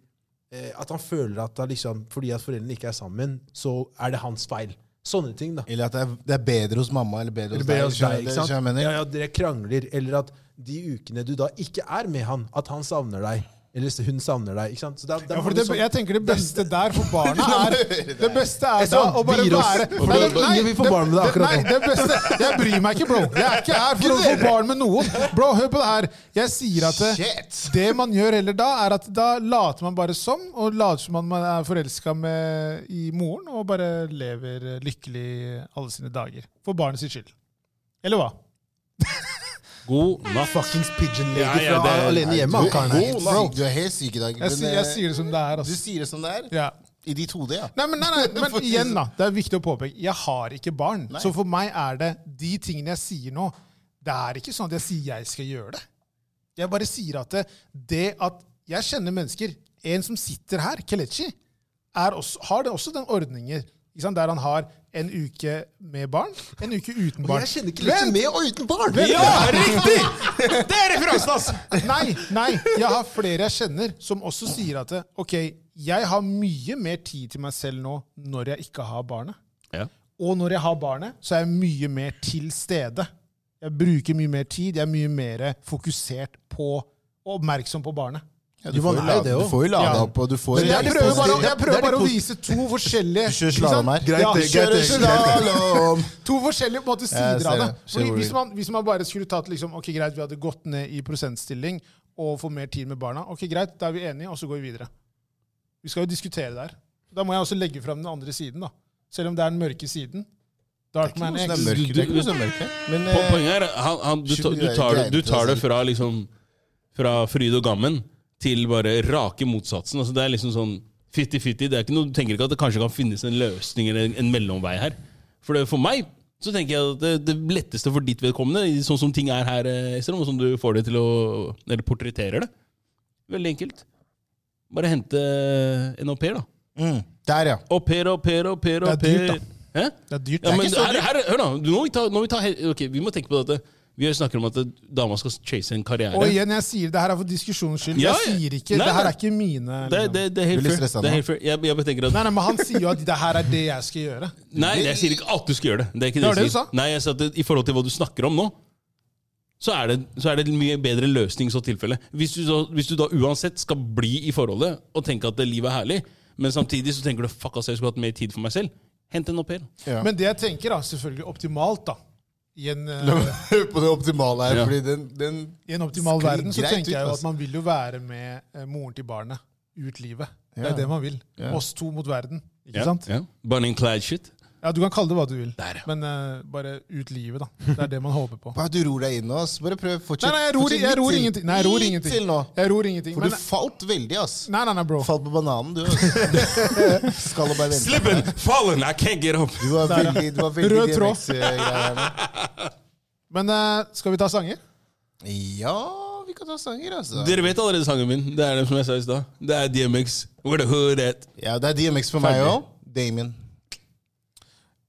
E: eh, at han føler at han liksom, fordi at foreldrene ikke er sammen, så er det hans feil. Sånne ting, da.
D: Eller at det er, det er bedre hos mamma eller bedre hos
E: Eller
D: deg.
E: bedre hos deg,
D: skjønner du-
E: ikke
D: skjønner du hva jeg
E: sant?
D: mener?
E: Ja, ja, dere krangler, eller at de ukene du da ikke er med han, at han savner deg. Eller hun savner deg. ikke sant? Så det er- det er
B: Ja, for
E: mange
B: det,
E: sånne-
B: jeg tenker det beste der for barna er Det beste er da
E: sånn,
B: å bare
E: gir oss.
B: være
E: Og bare-
B: Nei,
E: ingen vil få barn med deg akkurat nå.
B: Nei, det beste Jeg bryr meg ikke, bro. Jeg er ikke her for å få barn med noen. Bro, hør på det her. Jeg sier at det,
D: Shit!
B: det man gjør heller da, er at da later man bare som, og later som man- man er forelska med- i moren, og bare lever lykkelig alle sine dager. For barnet sitt skyld. Eller hva?
C: God natt.
E: Fuckings pigeon lady
C: Ja, ja,
E: fra
C: det-
E: alene hjemme.
D: Du,
E: han karen her.
D: er helt syk- du er helt syk i dag.
B: Jeg, si,
D: men,
B: jeg
D: eh,
B: sier det som det er.
D: Du
B: Altså.
D: sier det som det er?
B: Ja.
D: I ditt hode, ja.
B: Nei, men, nei, nei, men igjen, da. Det er viktig å påpeke. Jeg har ikke barn.
D: Nei.
B: Så for meg er det de tingene jeg sier nå Det er ikke sånn at jeg sier jeg skal gjøre det. Jeg bare sier at det, det at jeg kjenner mennesker En som sitter her, Kelechi, er også, har det også den ordningen ikke sant, der han har en uke med barn, en uke uten barn.
E: Jeg kjenner ikke litt
B: Vent!
E: med og uten barn!
B: Ja, riktig! Det er referansen, ass! Nei, nei. Jeg har flere jeg kjenner som også sier at det, ok, jeg har mye mer tid til meg selv nå når jeg ikke har barnet.
C: Ja.
B: Og når jeg har barnet, så er jeg mye mer til stede. Jeg bruker mye mer tid. Jeg er mye mer fokusert på og oppmerksom på barnet.
D: ja
E: Jo, man
D: jo
E: er
D: lada-
E: jo det også.
D: du får jo lada
B: Ja.
D: opp, og du får
B: Men jeg prøver bare, å-
E: positive-
B: jeg prøver
E: det er
B: bare å
E: det
B: vise to forskjellige
D: Du kjører
B: ikke sant?
D: slalom her.
B: Ja,
E: Greit, det, greit,
B: kjører
E: det, greit,
B: slalom.
D: Slalom!
B: To forskjellige på en måte, sider
D: ser
B: av det.
D: det. Ser
B: Fordi
D: hvor
B: hvis,
D: du-
B: man, hvis man bare skulle tatt liksom, ok greit, vi hadde gått ned i prosentstilling og få mer tid med barna, ok greit, da er vi enige, og så går vi videre. Vi skal jo diskutere der. Da må jeg også legge fram den andre siden, da. Selv om det er den mørke siden. Dark Man
D: Det
B: X.
D: er ikke mørkt, det er ikke noe som er mørkt her. Men
C: Po-
D: eh,
C: Poenget er han, han, du, ta- du, tar det, du tar det fra liksom Fra fryd og gammen til bare rake motsatsen. Altså, det er liksom sånn fitti-fitti. Det er ikke noe, du tenker ikke at det kanskje kan finnes en løsning eller en, en mellomvei her. For, det, for meg så tenker jeg at det, det letteste for ditt vedkommende, i- sånn som ting er her, eh, Esther, og som du får det til å Eller portretterer det. Veldig enkelt. Bare hente en au pair, da.
D: mm, Der, ja.
C: Au pair, au pair, au pair. au
B: Det er dyrt,
C: pair. Hæ?
B: Det er dyrt.
C: Ja, men
B: det er
C: her, her, hør da, du- nå må vi, ta, nå må vi, ta, he- ok, vi må tenke på dette. Vi snakker om at dama skal chase en karriere.
B: Og igjen, jeg sier det her er for diskusjonens skyld.
C: Ja,
B: jeg
C: ja.
B: sier ikke
C: Nei,
B: Det her
C: nei.
B: er ikke mine
C: det,
B: liksom.
C: det, det er helt
D: Blir litt
C: fair.
D: stressa
C: Det er
D: nå.
C: helt fair. Jeg, jeg bare tenker at
B: Nei, nei, men han sier jo at det her er det jeg skal gjøre.
C: Nei, jeg sier ikke at du skal gjøre det. Det er ikke det,
B: Det var det
C: jeg
B: du
C: sier.
B: sa.
C: Nei, jeg sa at det, I forhold til hva du snakker om nå, så er det, så er det en mye bedre løsning i så tilfelle. Hvis du, da, hvis du da uansett skal bli i forholdet og tenke at det livet er herlig, men samtidig så tenker du fuck ass, jeg skulle hatt mer tid for meg selv, hent en au pair.
D: Ja.
B: Men det jeg tenker, da, selvfølgelig optimalt, da. I en, eh,
D: Hør på det optimale her,
C: Ja.
D: fordi den, den
B: I en optimal
D: Sklir
B: verden så
D: greit
B: tenker
D: ut,
B: jeg jo at
D: altså.
B: man vil jo være med eh, moren til barnet ut livet. Det er det man vil. Oss to mot verden. Ikke
C: Ja,
B: sant?
C: ja. Bunny and Clyde shit.
B: Ja, Du kan kalle det hva du vil,
C: Der, ja.
B: men eh, bare ut livet, da. Det er det man håper på.
D: Hva, Du ror deg inn nå, ass. Bare prøv. Fortsett.
B: Nei, nei, jeg ror,
D: fortsett
B: jeg
D: litt
B: ror
D: til.
B: ingenting. Nei, jeg ror
D: Litt
B: ingenting.
D: til nå.
B: Jeg ror ingenting.
D: For
B: Men, eh,
D: du falt veldig, ass.
B: nei, nei, nei, bro.
D: Falt på bananen, du. ass. Skal og bare vente.
C: Slippin', fallen, I can't get up.
D: Du var
B: Der, ja.
D: veldig, du var veldig
B: Rød tråd.
D: DMX-greier nå.
B: Men eh, skal vi ta sanger?
D: Ja, vi kan ta sanger, altså.
C: Dere vet allerede sangen min. Det er det som jeg sa i stad. Det er DMX. Where the hood at?
D: Ja, det er DMX for meg òg. Damien.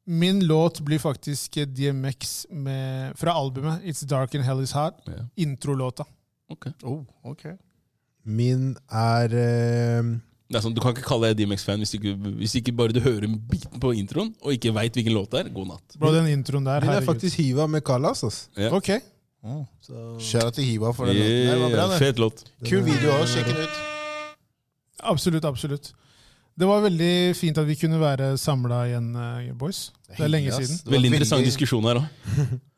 B: Min låt blir faktisk eh, DMX med, fra albumet It's Dark and Hell Is Hard. Introlåta.
D: Oh,
E: Min er eh,
C: Det er sånn, Du kan ikke kalle deg DMX-fan hvis, ikke- hvis ikke bare du hører biten på introen og ikke veit hvilken låt det er. God natt.
B: Bro, den introen der,
E: Min er
B: herregud.
E: faktisk Hiva med Kalas. ass.
B: Ok.
D: Mm. Kjære til Hiva for den låten. der, det var bra,
C: Yeah,
D: det.
C: fet låt.
D: Kul video òg, sjekk den ut.
B: Absolutt, absolutt. Det var veldig fint at vi kunne være samla igjen, eh, boys. Det er lenge
D: Hyggelig,
B: siden.
D: ass. Det var
C: Veldig interessant diskusjon her òg.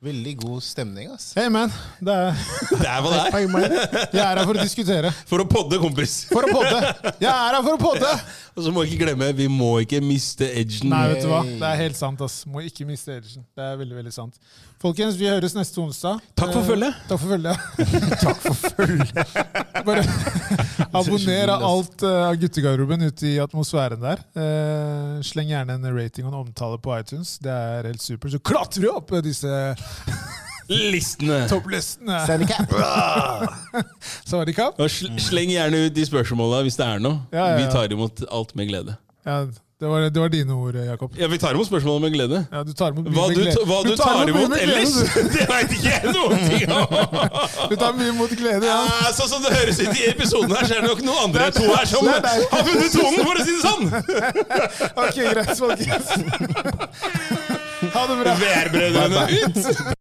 D: Veldig god stemning, ass.
B: Hey man, det er,
C: Det er hva det er!
B: jeg er her for å diskutere.
C: For å podde, kompis.
B: For å podde! Jeg er her for å podde!
C: Og så må vi ikke glemme, vi må ikke miste edgen.
B: Nei, vet du hva. Det er helt sant. ass. Må ikke miste edgen. Det er veldig, veldig sant. Folkens, vi høres neste onsdag.
C: Takk for
B: Eh,
C: følget.
B: Takk for følget. Bare abonner av alt eh, av guttegarderoben ute i atmosfæren der. Eh, sleng gjerne en rating og en omtale på iTunes. Det er helt supert. Så klatrer vi opp eh, disse
C: Listene!
B: topplistene!
D: Sandy Cap.
B: Sawadee ka?
C: Og sl sleng gjerne ut de spørsmåla hvis det er noe.
B: Ja, ja, ja.
C: Vi tar imot alt med glede.
B: Ja, det, var, det var dine ord, Jakob.
C: Ja, Vi tar imot spørsmål med glede.
B: Ja, du tar imot mye
C: Hva
B: med
C: du,
B: glede.
C: hva du tar
B: mye
C: imot
B: med glede,
C: ellers,
B: du.
C: det veit ikke jeg noen ting om!
B: Du tar mye mot glede, ja.
C: Eh, Sånn som det høres ut i episoden her, så er det nok noen andre to her som
B: det er deg.
C: har funnet tonen, for å si det sånn!
B: Ok, greit, folkens. Ha det bra.
C: VR-brødrene ut!